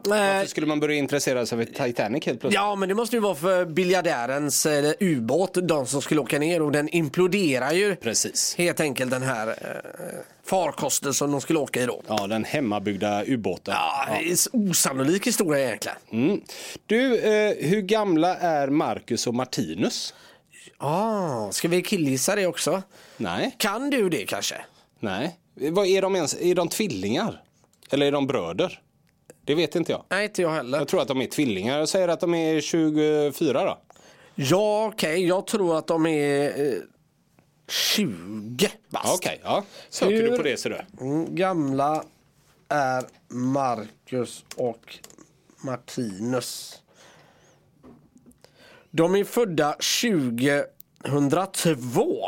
Speaker 3: Eh,
Speaker 2: Varför skulle man börja intressera sig för Titanic helt plötsligt?
Speaker 3: Ja, men det måste ju vara för biljardärens eh, ubåt, de som skulle åka ner och den imploderar ju
Speaker 2: Precis.
Speaker 3: helt enkelt den här eh, farkosten som de skulle åka i då.
Speaker 2: Ja, den hemmabyggda ubåten.
Speaker 3: Ja, det är en osannolik historia egentligen.
Speaker 2: Mm. Du, eh, hur gamla är Marcus och Martinus?
Speaker 3: Ah, ska vi killgissa det också?
Speaker 2: Nej.
Speaker 3: Kan du det kanske?
Speaker 2: Nej. Vad är de ens? Är de tvillingar? Eller är de bröder? Det vet inte jag.
Speaker 3: Nej, inte jag heller.
Speaker 2: Jag tror att de är tvillingar. Jag säger att de är 24 då.
Speaker 3: Ja, okej, jag tror att de är eh, 20
Speaker 2: Ja,
Speaker 3: bast.
Speaker 2: Okej, ja. Söker
Speaker 3: Hur-
Speaker 2: du på det ser du.
Speaker 3: Mm, Gamla är Marcus och Martinus. De är födda 2002.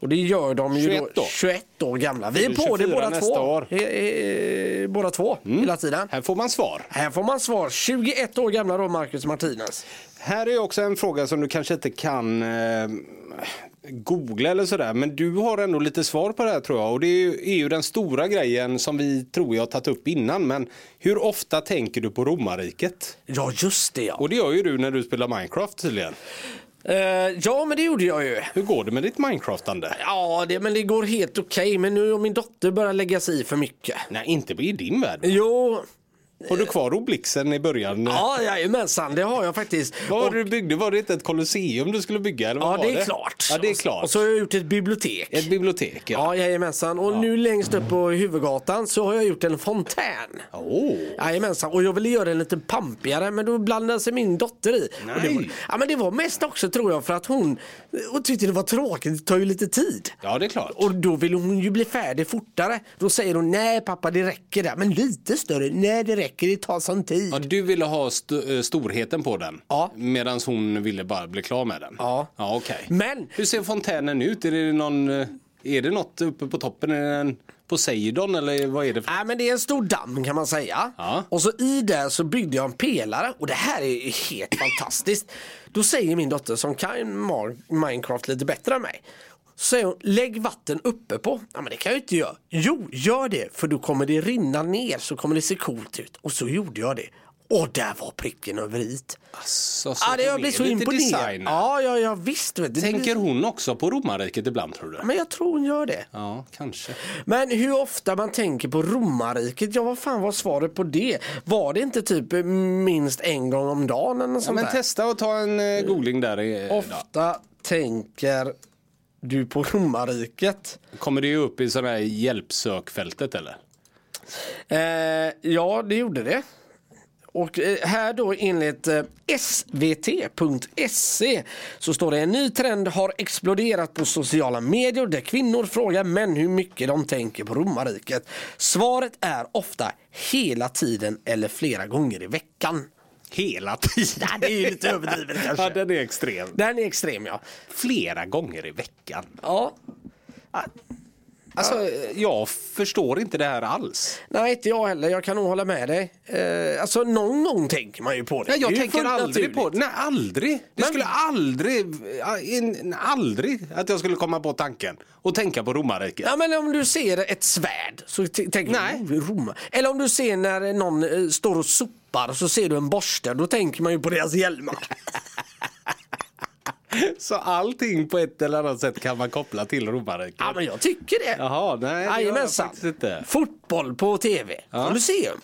Speaker 3: Och det gör de ju
Speaker 2: 21
Speaker 3: då,
Speaker 2: år.
Speaker 3: 21 år gamla. Vi är
Speaker 2: Fyller
Speaker 3: på det
Speaker 2: 24
Speaker 3: båda
Speaker 2: nästa
Speaker 3: två.
Speaker 2: år. Mm.
Speaker 3: Eh, eh, Båda två hela tiden.
Speaker 2: Här får man svar.
Speaker 3: Här får man svar. 21 år gamla då Marcus Martinus.
Speaker 2: Här är också en fråga som du kanske inte kan eh, googla eller sådär. Men du har ändå lite svar på det här tror jag. Och det är ju, är ju den stora grejen som vi tror jag har tagit upp innan. Men hur ofta tänker du på romarriket?
Speaker 3: Ja just det ja.
Speaker 2: Och det gör ju du när du spelar Minecraft tydligen.
Speaker 3: Eh, ja men det gjorde jag ju.
Speaker 2: Hur går det med ditt Minecraftande?
Speaker 3: Ja det, men det går helt okej. Men nu har min dotter börjat lägga sig i för mycket.
Speaker 2: Nej, inte i din värld.
Speaker 3: Jo,
Speaker 2: Har du kvar Obelixen i början?
Speaker 3: Ja, jajamensan, det har jag faktiskt.
Speaker 2: Vad var
Speaker 3: Och-
Speaker 2: det du byggde? Var det inte ett kolosseum du skulle bygga? Eller vad
Speaker 3: ja,
Speaker 2: var
Speaker 3: det är klart.
Speaker 2: Ja, det är klart.
Speaker 3: Och så har jag gjort ett bibliotek.
Speaker 2: Ett bibliotek, ja.
Speaker 3: Ja, jajamensan. Och nu längst upp på huvudgatan så har jag gjort en fontän.
Speaker 2: Åh.
Speaker 3: Jajamensan, och jag ville göra den lite pampigare men då blandade sig min dotter i. Och Det var,
Speaker 2: Nej.
Speaker 3: ja, men det var mest också tror jag för att hon, hon tyckte det var tråkigt, det tar ju lite tid.
Speaker 2: Ja, det är klart.
Speaker 3: Och då vill hon ju bli färdig fortare. Då säger hon nej pappa det räcker där, men lite större, nej det räcker, det tar sån tid.
Speaker 2: Ja, du ville ha st- eh, storheten på den
Speaker 3: Ja.
Speaker 2: medan hon ville bara bli klar med den?
Speaker 3: Ja.
Speaker 2: ja okej.
Speaker 3: Men-
Speaker 2: Hur ser fontänen ut? Är det, någon, eh, är det något uppe på toppen? Är det en Poseidon eller vad är det? För...
Speaker 3: Nej men det är en stor damm kan man säga.
Speaker 2: Ja.
Speaker 3: Och så i där så byggde jag en pelare och det här är helt fantastiskt. Då säger min dotter som kan Mar- Minecraft lite bättre än mig. Så säger hon, lägg vatten uppe på. Ja men det kan jag ju inte göra. Jo, gör det för då kommer det rinna ner så kommer det se coolt ut. Och så gjorde jag det. Och där var pricken över it.
Speaker 2: Så, så
Speaker 3: Ja, ah, det, jag
Speaker 2: Alltså, är
Speaker 3: blev så
Speaker 2: lite
Speaker 3: imponerad.
Speaker 2: design.
Speaker 3: Ja, ja, ja visst. Vet du. Det blir-
Speaker 2: Tänker hon också på romarriket ibland tror du?
Speaker 3: Men jag tror hon gör det.
Speaker 2: Ja, kanske.
Speaker 3: Men hur ofta man tänker på romarriket, ja vad fan var svaret på det? Var det inte typ eh, minst en gång om dagen eller något
Speaker 2: Ja,
Speaker 3: sånt
Speaker 2: men
Speaker 3: där?
Speaker 2: testa att ta en eh, googling där. i- idag.
Speaker 3: Ofta tänker du på romarriket?
Speaker 2: Kommer det upp i sådana här hjälpsökfältet eller?
Speaker 3: Eh, ja, det gjorde det. Och eh, här då enligt eh, svt.se E så står det en ny trend har exploderat på sociala medier där kvinnor frågar män hur mycket de tänker på romarriket. Svaret är ofta hela tiden eller flera gånger i veckan.
Speaker 2: Hela tiden.
Speaker 3: Ja, det är ju lite överdrivet
Speaker 2: Ja,
Speaker 3: kanske.
Speaker 2: den är extrem.
Speaker 3: Den är extrem ja.
Speaker 2: Flera gånger i veckan.
Speaker 3: ja.
Speaker 2: Alltså, eh, jag förstår inte det här alls.
Speaker 3: Nej, inte jag heller. Jag kan nog hålla med dig. Eh, alltså någon gång tänker man ju på det.
Speaker 2: Nej, jag
Speaker 3: Det är ju
Speaker 2: tänker
Speaker 3: fullt
Speaker 2: aldrig
Speaker 3: naturligt.
Speaker 2: på det. Nej, aldrig. Det
Speaker 3: Men-
Speaker 2: skulle aldrig, ja, in- aldrig att jag skulle komma på tanken och tänka på romarriket.
Speaker 3: Ja, men om du ser ett svärd så t- tänker
Speaker 2: Nej.
Speaker 3: du "Oh, Roma. Eller om du ser när någon eh, står och sopar så ser du en borste. Då tänker man ju på deras hjälmar.
Speaker 2: Så allting på ett eller annat sätt kan man koppla till romarriket.
Speaker 3: ja, men jag tycker det.
Speaker 2: Jaha, nej, det gör jag
Speaker 3: Jajamensan.
Speaker 2: faktiskt inte.
Speaker 3: Fotboll på tv.
Speaker 2: Ja.
Speaker 3: Kolosseum.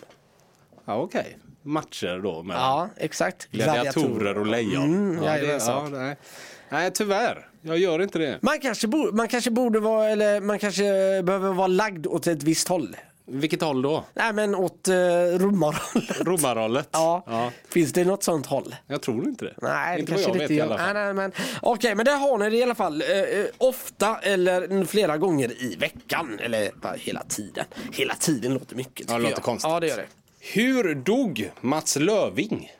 Speaker 2: Ja, okej. Matcher då med
Speaker 3: Ja, exakt.
Speaker 2: gladiatorer och lejon.
Speaker 3: Mm,
Speaker 2: ja,
Speaker 3: ja,
Speaker 2: det,
Speaker 3: det är
Speaker 2: ja,
Speaker 3: sant.
Speaker 2: nej. nej, tyvärr. Jag gör inte det.
Speaker 3: Man kanske, bo, man kanske borde vara, eller man kanske behöver vara lagd åt ett visst håll.
Speaker 2: Vilket håll då?
Speaker 3: Nej men åt eh, romarhållet.
Speaker 2: Romarhållet?
Speaker 3: Ja. finns det något sånt håll?
Speaker 2: Jag tror inte det.
Speaker 3: Nej,
Speaker 2: inte
Speaker 3: det kanske
Speaker 2: vad jag
Speaker 3: det
Speaker 2: vet
Speaker 3: inte
Speaker 2: i
Speaker 3: gör.
Speaker 2: alla fall.
Speaker 3: Nej, nej, men, okej, men där har ni det i alla fall. Eh, eh, ofta eller flera gånger i veckan. Eller bara hela tiden. Hela tiden låter mycket. tycker
Speaker 2: låter
Speaker 3: jag.
Speaker 2: konstigt.
Speaker 3: Ja, det gör det.
Speaker 2: Hur dog Mats Löving?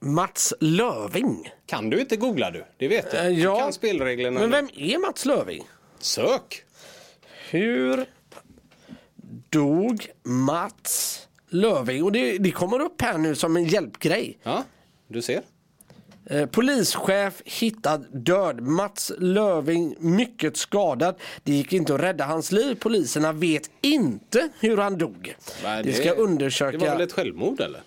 Speaker 3: Mats Löving.
Speaker 2: Kan du inte googla du? Det vet du.
Speaker 3: Eh,
Speaker 2: Du kan spelreglerna.
Speaker 3: Men
Speaker 2: nu.
Speaker 3: vem är Mats Löving?
Speaker 2: Sök!
Speaker 3: Hur dog Mats Löving? Och det, det kommer upp här nu som en hjälpgrej.
Speaker 2: Ja, du ser.
Speaker 3: Eh, Polischef hittad död. Mats Löving mycket skadad. Det gick inte att rädda hans liv. Poliserna vet inte hur han dog.
Speaker 2: Nej,
Speaker 3: det ska undersöka.
Speaker 2: Det var väl ett självmord eller?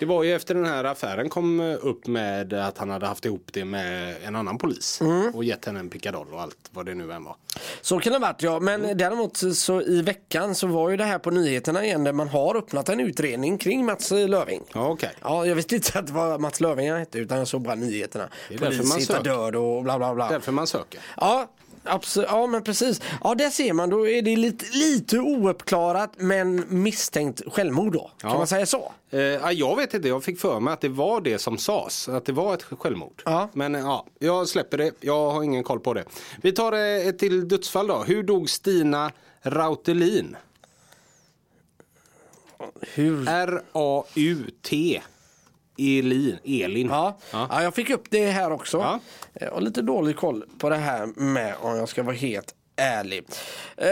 Speaker 2: Det var ju efter den här affären kom eh, upp med att han hade haft ihop det med en annan polis
Speaker 3: Mm.
Speaker 2: och gett henne en pickadoll och allt vad det nu än var.
Speaker 3: Så kan det ha varit ja, men
Speaker 2: Mm.
Speaker 3: däremot så i veckan så var ju det här på nyheterna igen där man har öppnat en utredning kring Mats Löving.
Speaker 2: Ja, okej.
Speaker 3: Ja, jag visste inte att det var Mats Löving han hette utan jag såg bara nyheterna.
Speaker 2: Det är därför
Speaker 3: Polis
Speaker 2: man
Speaker 3: hittar
Speaker 2: söker.
Speaker 3: död och bla bla bla.
Speaker 2: Därför man söker.
Speaker 3: Ja, absolut. Ja, men precis. Ja, där ser man. Då är det lite, lite ouppklarat men misstänkt självmord då. Kan
Speaker 2: Ja.
Speaker 3: man säga så?
Speaker 2: Eh, ja, jag vet inte, jag fick för mig att det var det som sades, att det var ett självmord.
Speaker 3: Ja.
Speaker 2: Men eh, ja, jag släpper det, jag har ingen koll på det. Vi tar eh, ett till dödsfall då. Hur dog Stina Rautelin?
Speaker 3: Hur?
Speaker 2: R-A-U-T Elin. Elin.
Speaker 3: Ja.
Speaker 2: Ja.
Speaker 3: ja, jag fick upp det här också.
Speaker 2: Ja.
Speaker 3: Jag har lite dålig koll på det här med om jag ska vara helt ärlig. Eh,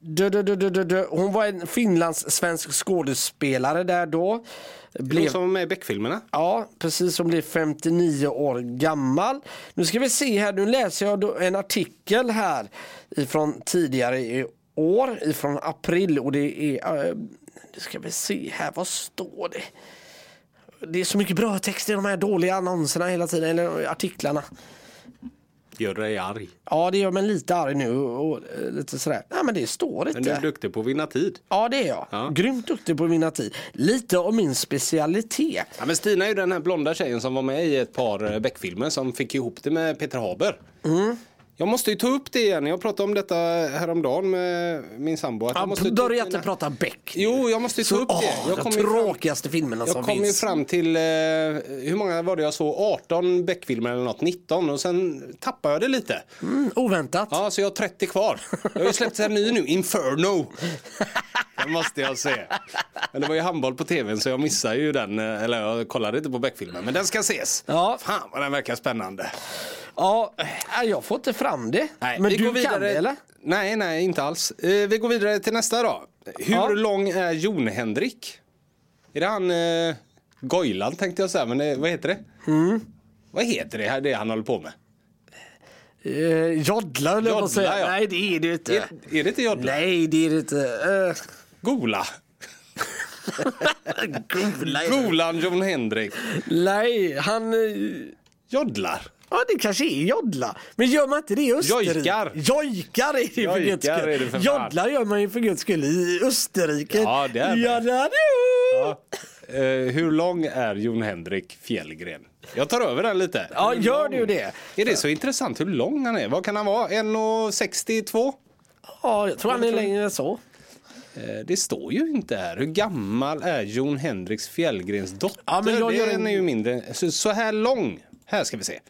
Speaker 3: dö, dö, dö, dö, dö, dö. Hon var en finlandssvensk skådespelare där då.
Speaker 2: Hon
Speaker 3: Blev
Speaker 2: som var med i Beck-filmerna.
Speaker 3: Ja, precis som blir 59 år gammal. Nu ska vi se här, nu läser jag då en artikel här ifrån tidigare i år, ifrån april och det är, eh, nu ska vi se här, vad står det? Det är så mycket bra text i de här dåliga annonserna hela tiden, eller artiklarna.
Speaker 2: Gör dig arg.
Speaker 3: Ja, det gör mig lite arg nu och eh, lite sådär. Nej, men det står inte.
Speaker 2: Men du är duktig på att vinna tid.
Speaker 3: Ja, det är jag.
Speaker 2: Ja.
Speaker 3: Grymt duktig på att vinna tid. Lite av min specialitet.
Speaker 2: Ja, men Stina är ju den här blonda tjejen som var med i ett par eh, Beck-filmer som fick ihop det med Peter Haber. Jag måste ju ta upp det igen. Jag pratade om detta häromdagen med min sambo. Att jag
Speaker 3: Ja,
Speaker 2: måste ta upp
Speaker 3: börja inte
Speaker 2: mina-
Speaker 3: prata Beck. nu.
Speaker 2: Jo, jag måste ju ta
Speaker 3: Så,
Speaker 2: upp det.
Speaker 3: åh,
Speaker 2: Jag
Speaker 3: de
Speaker 2: kommer ju fram-
Speaker 3: tråkigaste filmerna som
Speaker 2: Jag kom ju
Speaker 3: finns.
Speaker 2: fram till, eh, hur många var det jag såg? 18 Beck-filmer eller något, 19 och sen tappade jag det lite.
Speaker 3: Mm, oväntat.
Speaker 2: Ja, så jag har 30 kvar. Jag har ju släppt en ny nu, Inferno. Den måste jag se. Men det var ju handboll på tvn så jag missade ju den, eh, eller jag kollade inte på Beck-filmen, men den ska ses.
Speaker 3: Ja.
Speaker 2: Fan vad den verkar spännande.
Speaker 3: Ja. äh, jag får inte fram det.
Speaker 2: Nej,
Speaker 3: Men
Speaker 2: vi
Speaker 3: du
Speaker 2: går vidare.
Speaker 3: kan det eller?
Speaker 2: Nej, nej, inte alls. Eh, vi går vidare till nästa då. Hur
Speaker 3: Ja.
Speaker 2: lång är Jon Henrik? Är det han eh, Gojland tänkte jag säga, men det, vad heter det?
Speaker 3: Mm.
Speaker 2: Vad heter det här det han håller på med?
Speaker 3: Eh, joddla höll jag på att säga.
Speaker 2: Joddla, ja.
Speaker 3: Nej det är det inte.
Speaker 2: Är, är det inte Jodla?
Speaker 3: Nej det är det inte. Eh,
Speaker 2: Gola? Golan Jon Henrik.
Speaker 3: nej han... eh,
Speaker 2: Jodlar.
Speaker 3: Ja det kanske är joddla. Men gör man inte det i Österrike?
Speaker 2: Jojkar.
Speaker 3: Jojkar är det för
Speaker 2: Jojkar
Speaker 3: guds skull.
Speaker 2: är det för fan.
Speaker 3: Joddla gör man ju för guds skull i Österrike.
Speaker 2: Ja, det är det.
Speaker 3: Ja, det. Ja.
Speaker 2: Ja. Eh, hur lång är Jon Henrik Fjällgren? Jag tar över den lite.
Speaker 3: ja
Speaker 2: Hur
Speaker 3: gör
Speaker 2: lång?
Speaker 3: du det?
Speaker 2: Är det så intressant hur lång han är? Vad kan han vara? 1,62?
Speaker 3: Ja jag tror han är längre än så.
Speaker 2: Eh, Det står ju inte här. Hur gammal är Jon Henriks Fjällgrens dotter?
Speaker 3: Ja, men jag gör
Speaker 2: Den
Speaker 3: en-
Speaker 2: är ju mindre. Så, så här lång. Här ska vi se.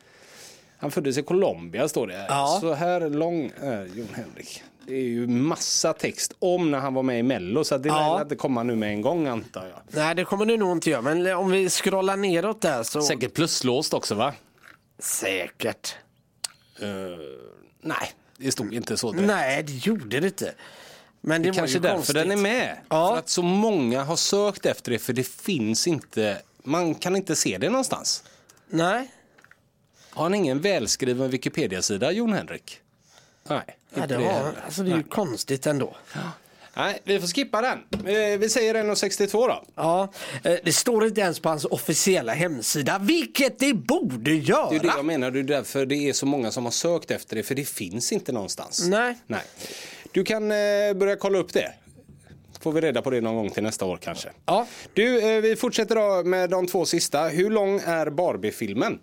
Speaker 2: Han föddes i Colombia står det. här.
Speaker 3: Ja.
Speaker 2: Så här lång är Jon Henrik. Det är ju massa text om när han var med i Mello så att det
Speaker 3: Ja.
Speaker 2: lär inte komma nu med en gång antar jag.
Speaker 3: Nej det kommer du nog inte göra men om vi scrollar neråt där så
Speaker 2: Säkert pluslåst också va?
Speaker 3: Säkert.
Speaker 2: Eh, Nej, det stod inte så direkt.
Speaker 3: Nej, det gjorde det inte. Men det, var
Speaker 2: Kanske
Speaker 3: ju
Speaker 2: därför
Speaker 3: konstigt.
Speaker 2: den är med.
Speaker 3: Ja.
Speaker 2: För att så många har sökt efter det för det finns inte, man kan inte se det någonstans.
Speaker 3: Nej,
Speaker 2: Har han ingen välskriven Wikipedia-sida, Jon Henrik? Nej,
Speaker 3: ja, det, var, alltså, det är ju konstigt ändå.
Speaker 2: Nej, vi får skippa den. Eh, Vi säger 1,62 då.
Speaker 3: Ja, eh, det står inte ens på hans officiella hemsida, vilket det borde göra.
Speaker 2: Det är det jag menar, det är därför det är så många som har sökt efter det, för det finns inte någonstans.
Speaker 3: Nej.
Speaker 2: Nej. Du kan eh, börja kolla upp det. Får vi reda på det någon gång till nästa år kanske.
Speaker 3: Ja.
Speaker 2: Du, eh, vi fortsätter då med de två sista. Hur lång är Barbie-filmen?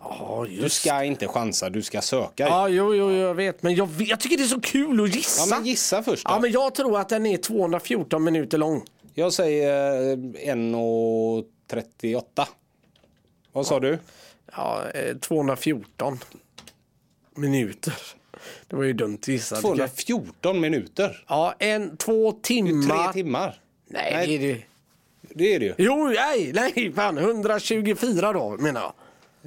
Speaker 3: Ja,
Speaker 2: Du
Speaker 3: just
Speaker 2: ska inte chansa, du ska söka.
Speaker 3: Ja, jo, jo, jag vet. Men jag, vet, jag tycker det är så kul att
Speaker 2: Ja,
Speaker 3: gissa.
Speaker 2: men gissa först då.
Speaker 3: Ja, men jag tror att den är 214 minuter lång.
Speaker 2: Jag säger eh, 1,38. Vad sa du?
Speaker 3: Ja, eh, 214 minuter. Det var ju dumt gissat.
Speaker 2: 214 minuter.
Speaker 3: Ja, en, två
Speaker 2: Tre
Speaker 3: timmar.
Speaker 2: timmar.
Speaker 3: Nej,
Speaker 2: Nej.
Speaker 3: nej. Det är det.
Speaker 2: Det är det ju.
Speaker 3: Jo, nej, nej, fan 124 då menar jag.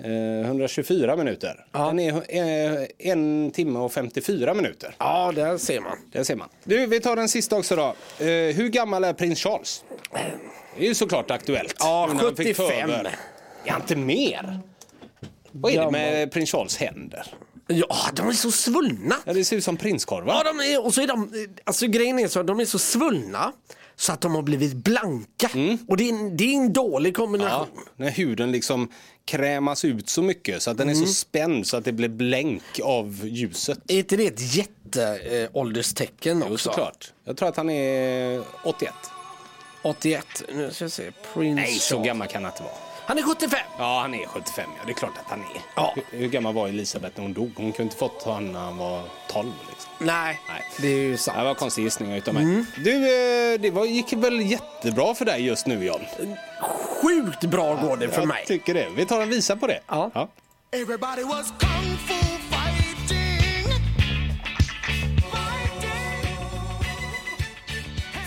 Speaker 2: Eh, 124 minuter. Den är eh, en timme och 54 minuter.
Speaker 3: Ja, där ser man.
Speaker 2: Där ser man. Du, vi tar den sista också då. Eh, hur gammal är prins Charles? Det är ju såklart aktuellt.
Speaker 3: Ja,
Speaker 2: Innan han fick
Speaker 3: 75.
Speaker 2: föver. Är han inte mer? Vad är det
Speaker 3: Gammal.
Speaker 2: med prins Charles händer?
Speaker 3: Ja, de är så svullna.
Speaker 2: Ja, det ser ut som prinskorvar.
Speaker 3: Ja, de är, och så är de, alltså grejen är så att de är så svullna så att de har blivit blanka.
Speaker 2: Mm.
Speaker 3: Och det är, en- det är en dålig
Speaker 2: Ja,
Speaker 3: kombination.
Speaker 2: när huden liksom krämas ut så mycket så att den är så spänd så att det blir blänk av ljuset.
Speaker 3: Är inte det ett jätteålderstecken eh, ålderstecken också?
Speaker 2: Jo, såklart. Jag tror att han är 81.
Speaker 3: 81, nu ska jag se, Prince
Speaker 2: Nej, så
Speaker 3: Charles.
Speaker 2: gammal kan han inte vara.
Speaker 3: Han är 75!
Speaker 2: Ja, han är 75. Ja, det är klart att han är.
Speaker 3: Ja.
Speaker 2: Hur, hur gammal var Elisabeth när hon dog? Hon kunde inte fått honom när han var 12. Liksom.
Speaker 3: Nej,
Speaker 2: Nej.
Speaker 3: det är ju
Speaker 2: Det
Speaker 3: sant.
Speaker 2: var en konstig gissning utav mig. Du, eh, det var, gick väl jättebra för dig just nu, John?
Speaker 3: Sjukt bra går det för
Speaker 2: jag
Speaker 3: mig.
Speaker 2: tycker det. Vi tar en visa på det.
Speaker 3: Ja.
Speaker 9: Everybody was kung fu fighting.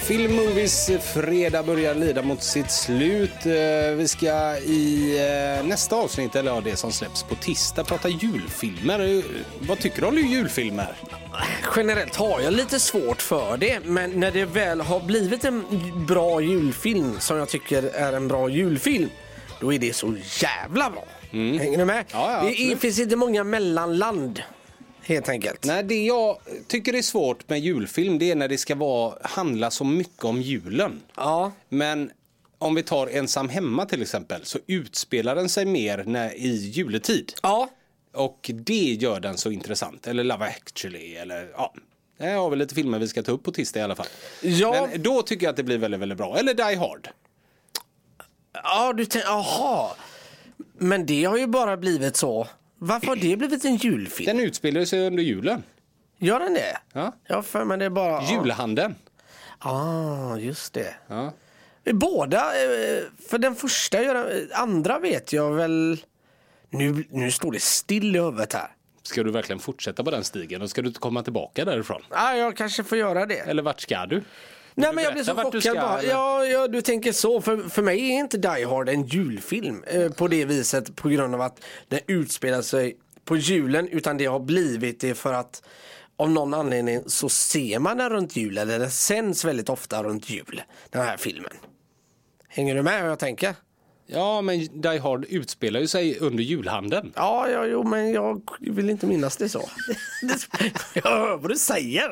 Speaker 2: Film Movies eh, fredag börjar lida mot sitt slut. Eh, Vi ska i eh, nästa avsnitt, eller ja, det som släpps på tisdag, prata julfilmer. Eh, Vad tycker du om julfilmer?
Speaker 3: Generellt har jag lite svårt för det, men när det väl har blivit en bra julfilm som jag tycker är en bra julfilm, då är det så jävla bra. Hänger du med?
Speaker 2: Mm. Ja, ja,
Speaker 3: det är,
Speaker 2: absolut.
Speaker 3: finns inte många mellanland, helt enkelt.
Speaker 2: Nej, det jag tycker är svårt med julfilm, det är när det ska vara, handla så mycket om julen.
Speaker 3: Ja.
Speaker 2: Men om vi tar Ensam hemma till exempel, så utspelar den sig mer när, i juletid.
Speaker 3: Ja.
Speaker 2: Och det gör den så intressant. Eller Love actually. Eller, ja. Här har vi lite filmer vi ska ta upp på tisdag i alla fall.
Speaker 3: Ja.
Speaker 2: Men då tycker jag att det blir väldigt, väldigt bra. Eller Die Hard.
Speaker 3: Ja, du tänker, aha. Men det har ju bara blivit så. Varför har det blivit en julfilm?
Speaker 2: Den utspelar sig under julen.
Speaker 3: Gör den det?
Speaker 2: Ja.
Speaker 3: Ja, för men det är bara...
Speaker 2: Julhandeln.
Speaker 3: Ah, just det.
Speaker 2: Ja.
Speaker 3: Båda, eh, för den första, gör den- andra vet jag väl... Nu, nu står det still i huvudet här.
Speaker 2: Ska du verkligen fortsätta på den stigen? Och ska du inte komma tillbaka därifrån?
Speaker 3: ah, jag kanske får göra det.
Speaker 2: Eller vart ska du?
Speaker 3: Nej men jag blir så
Speaker 2: berätta vart du
Speaker 3: chockad
Speaker 2: ska,
Speaker 3: bara.
Speaker 2: eller?
Speaker 3: Ja, ja, du tänker så. För, för mig är inte Die Hard en julfilm eh, på det viset på grund av att den utspelar sig på julen utan det har blivit det för att av någon anledning så ser man den runt jul eller den sänds väldigt ofta runt jul. Den här filmen. Hänger du med hur jag tänker?
Speaker 2: Ja, men Die Hard utspelar ju sig under julhandeln.
Speaker 3: Ja, ja, jo, men jag vill inte minnas det så. jag hör vad du säger.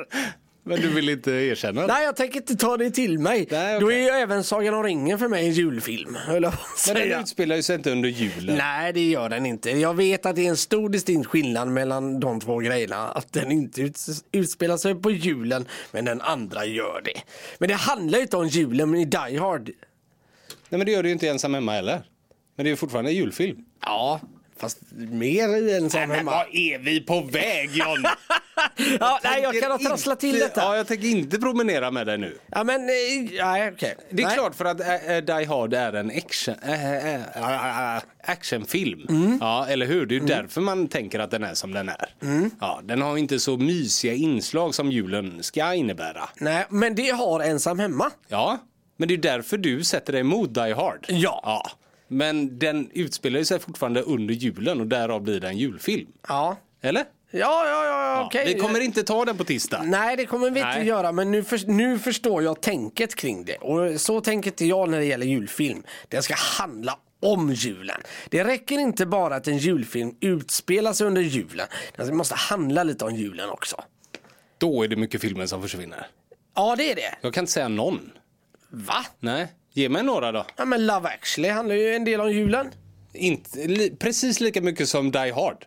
Speaker 2: Men du vill inte erkänna det?
Speaker 3: Nej, jag tänker inte ta det till mig.
Speaker 2: Nej,
Speaker 3: Då är
Speaker 2: okej.
Speaker 3: ju även Sagan om ringen för mig en julfilm, höll jag på att
Speaker 2: Men den
Speaker 3: säga.
Speaker 2: utspelar ju sig inte under julen.
Speaker 3: Nej, det gör den inte. Jag vet att det är en stor distinkt skillnad mellan de två grejerna. Att den inte uts- utspelar sig på julen, men den andra gör det. Men det handlar ju inte om julen men i Die Hard.
Speaker 2: Nej, men det gör du ju inte ensam hemma heller. Men det är ju fortfarande en julfilm.
Speaker 3: Ja, fast mer i en som hemma.
Speaker 2: är vi på väg John?
Speaker 3: Ja, nej, jag kan ha trasslat till detta.
Speaker 2: Ja,
Speaker 3: Ja,
Speaker 2: jag tänker inte promenera med dig nu.
Speaker 3: men eh, nej, okej.
Speaker 2: Det är
Speaker 3: Nej.
Speaker 2: klart för att äh, äh, Die Hard är en action, äh, äh, äh, äh, actionfilm.
Speaker 3: Mm.
Speaker 2: Ja, eller hur? Det är ju därför man tänker att den är som den är.
Speaker 3: Mm.
Speaker 2: Ja, den har inte så mysiga inslag som julen ska innebära.
Speaker 3: Nej, men det har ensam hemma.
Speaker 2: Ja, men det är ju därför du sätter dig emot Die Hard.
Speaker 3: Ja.
Speaker 2: ja. Men den utspelar ju sig fortfarande under julen och därav blir det en julfilm.
Speaker 3: Ja,
Speaker 2: Eller?
Speaker 3: ja, ja, ja,
Speaker 2: Ja,
Speaker 3: okej. Mm.
Speaker 2: Vi kommer inte ta den på tisdag.
Speaker 3: Nej, det kommer vi inte
Speaker 2: Nej.
Speaker 3: göra, men nu, för, nu förstår jag tänket kring det. Och så tänker inte jag när det gäller julfilm. Den ska handla om julen. Det räcker inte bara att en julfilm utspelar sig under julen. Den måste handla lite om julen också.
Speaker 2: Då är det mycket filmer som försvinner.
Speaker 3: Ja, det är det.
Speaker 2: Jag kan inte säga någon.
Speaker 3: Va?
Speaker 2: Nej, ge mig några då.
Speaker 3: Ja, men Love actually handlar ju en del om julen.
Speaker 2: Inte, li, precis lika mycket som Die Hard.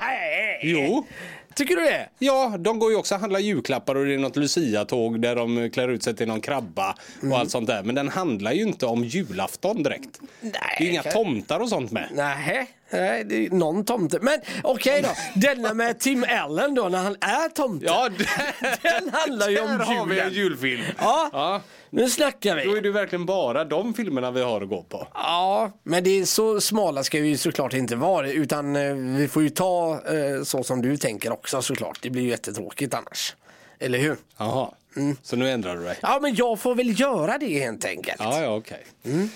Speaker 3: Nej!
Speaker 2: Jo.
Speaker 3: Tycker du det?
Speaker 2: Ja, de går ju också och handlar julklappar och det är något Lucia-tåg där de klär ut sig till någon krabba
Speaker 3: Mm.
Speaker 2: och allt sånt där. Men den handlar ju inte om julafton direkt.
Speaker 3: Nej.
Speaker 2: Det är ju inga tomtar och sånt med.
Speaker 3: Nej, nej, det är någon tomte. Men okej då, denna med Tim Allen då när han är tomte.
Speaker 2: Ja,
Speaker 3: Den handlar ju
Speaker 2: Där
Speaker 3: om
Speaker 2: har vi en
Speaker 3: julen.
Speaker 2: julfilm.
Speaker 3: Ja,
Speaker 2: Ja.
Speaker 3: nu snackar vi.
Speaker 2: Då är det ju verkligen bara de filmerna vi har att gå på.
Speaker 3: Ja, men det är så smala ska vi ju såklart inte vara utan eh, vi får ju ta eh, så som du tänker också såklart. Det blir ju jättetråkigt annars. Eller hur?
Speaker 2: Jaha,
Speaker 3: Mm.
Speaker 2: så nu ändrar du dig.
Speaker 3: Ja, men jag får väl göra det helt enkelt.
Speaker 2: Ja, ja, okej. Vi
Speaker 3: Mm.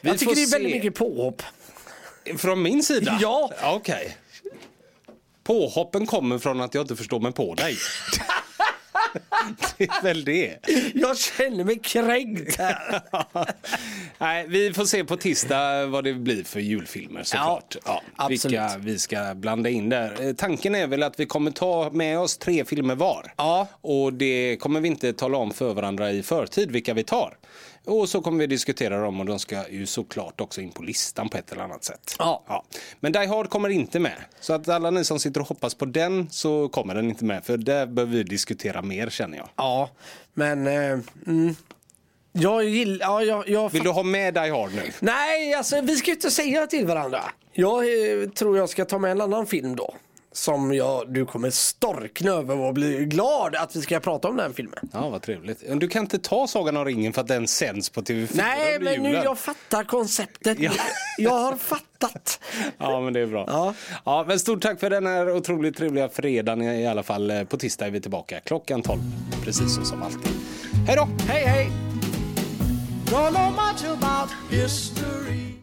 Speaker 3: jag tycker
Speaker 2: får
Speaker 3: det är väldigt
Speaker 2: se.
Speaker 3: mycket påhopp.
Speaker 2: Från min sida?
Speaker 3: Ja.
Speaker 2: Okej. Påhoppen kommer från att jag inte förstår mig på dig. det är väl det.
Speaker 3: Jag känner mig kränkt här.
Speaker 2: Nej, vi får se på tisdag vad det blir för julfilmer såklart. Ja,
Speaker 3: absolut.
Speaker 2: Vilka vi ska blanda in där. Eh, Tanken är väl att vi kommer ta med oss tre filmer var.
Speaker 3: Ja.
Speaker 2: Och det kommer vi inte tala om för varandra i förtid vilka vi tar. Och så kommer vi diskutera dem och de ska ju såklart också in på listan på ett eller annat sätt.
Speaker 3: Ja.
Speaker 2: Men Die Hard kommer inte med. Så att alla ni som sitter och hoppas på den så kommer den inte med. För där behöver vi diskutera mer känner jag.
Speaker 3: Ja, men... Eh, mm. Jag gillar... Ja, jag, jag
Speaker 2: Vill du ha med Die Hard nu?
Speaker 3: Nej, alltså vi ska ju inte säga till varandra. Jag eh, tror jag ska ta med en annan film då. Som jag, du kommer storkna över och bli glad att vi ska prata om den filmen.
Speaker 2: Ja, vad trevligt. Du kan inte ta Sagan om ringen för att den sänds på TV4
Speaker 3: Nej,
Speaker 2: under
Speaker 3: men nu
Speaker 2: julen.
Speaker 3: jag fattar konceptet.
Speaker 2: Ja.
Speaker 3: Jag har fattat.
Speaker 2: Ja, men det är bra.
Speaker 3: Ja.
Speaker 2: Ja, men stort tack för den här otroligt trevliga fredagen i alla fall. Eh, På tisdag är vi tillbaka klockan 12, precis så som alltid. Hej då!
Speaker 3: Hej, hej!
Speaker 9: Don't know much about history.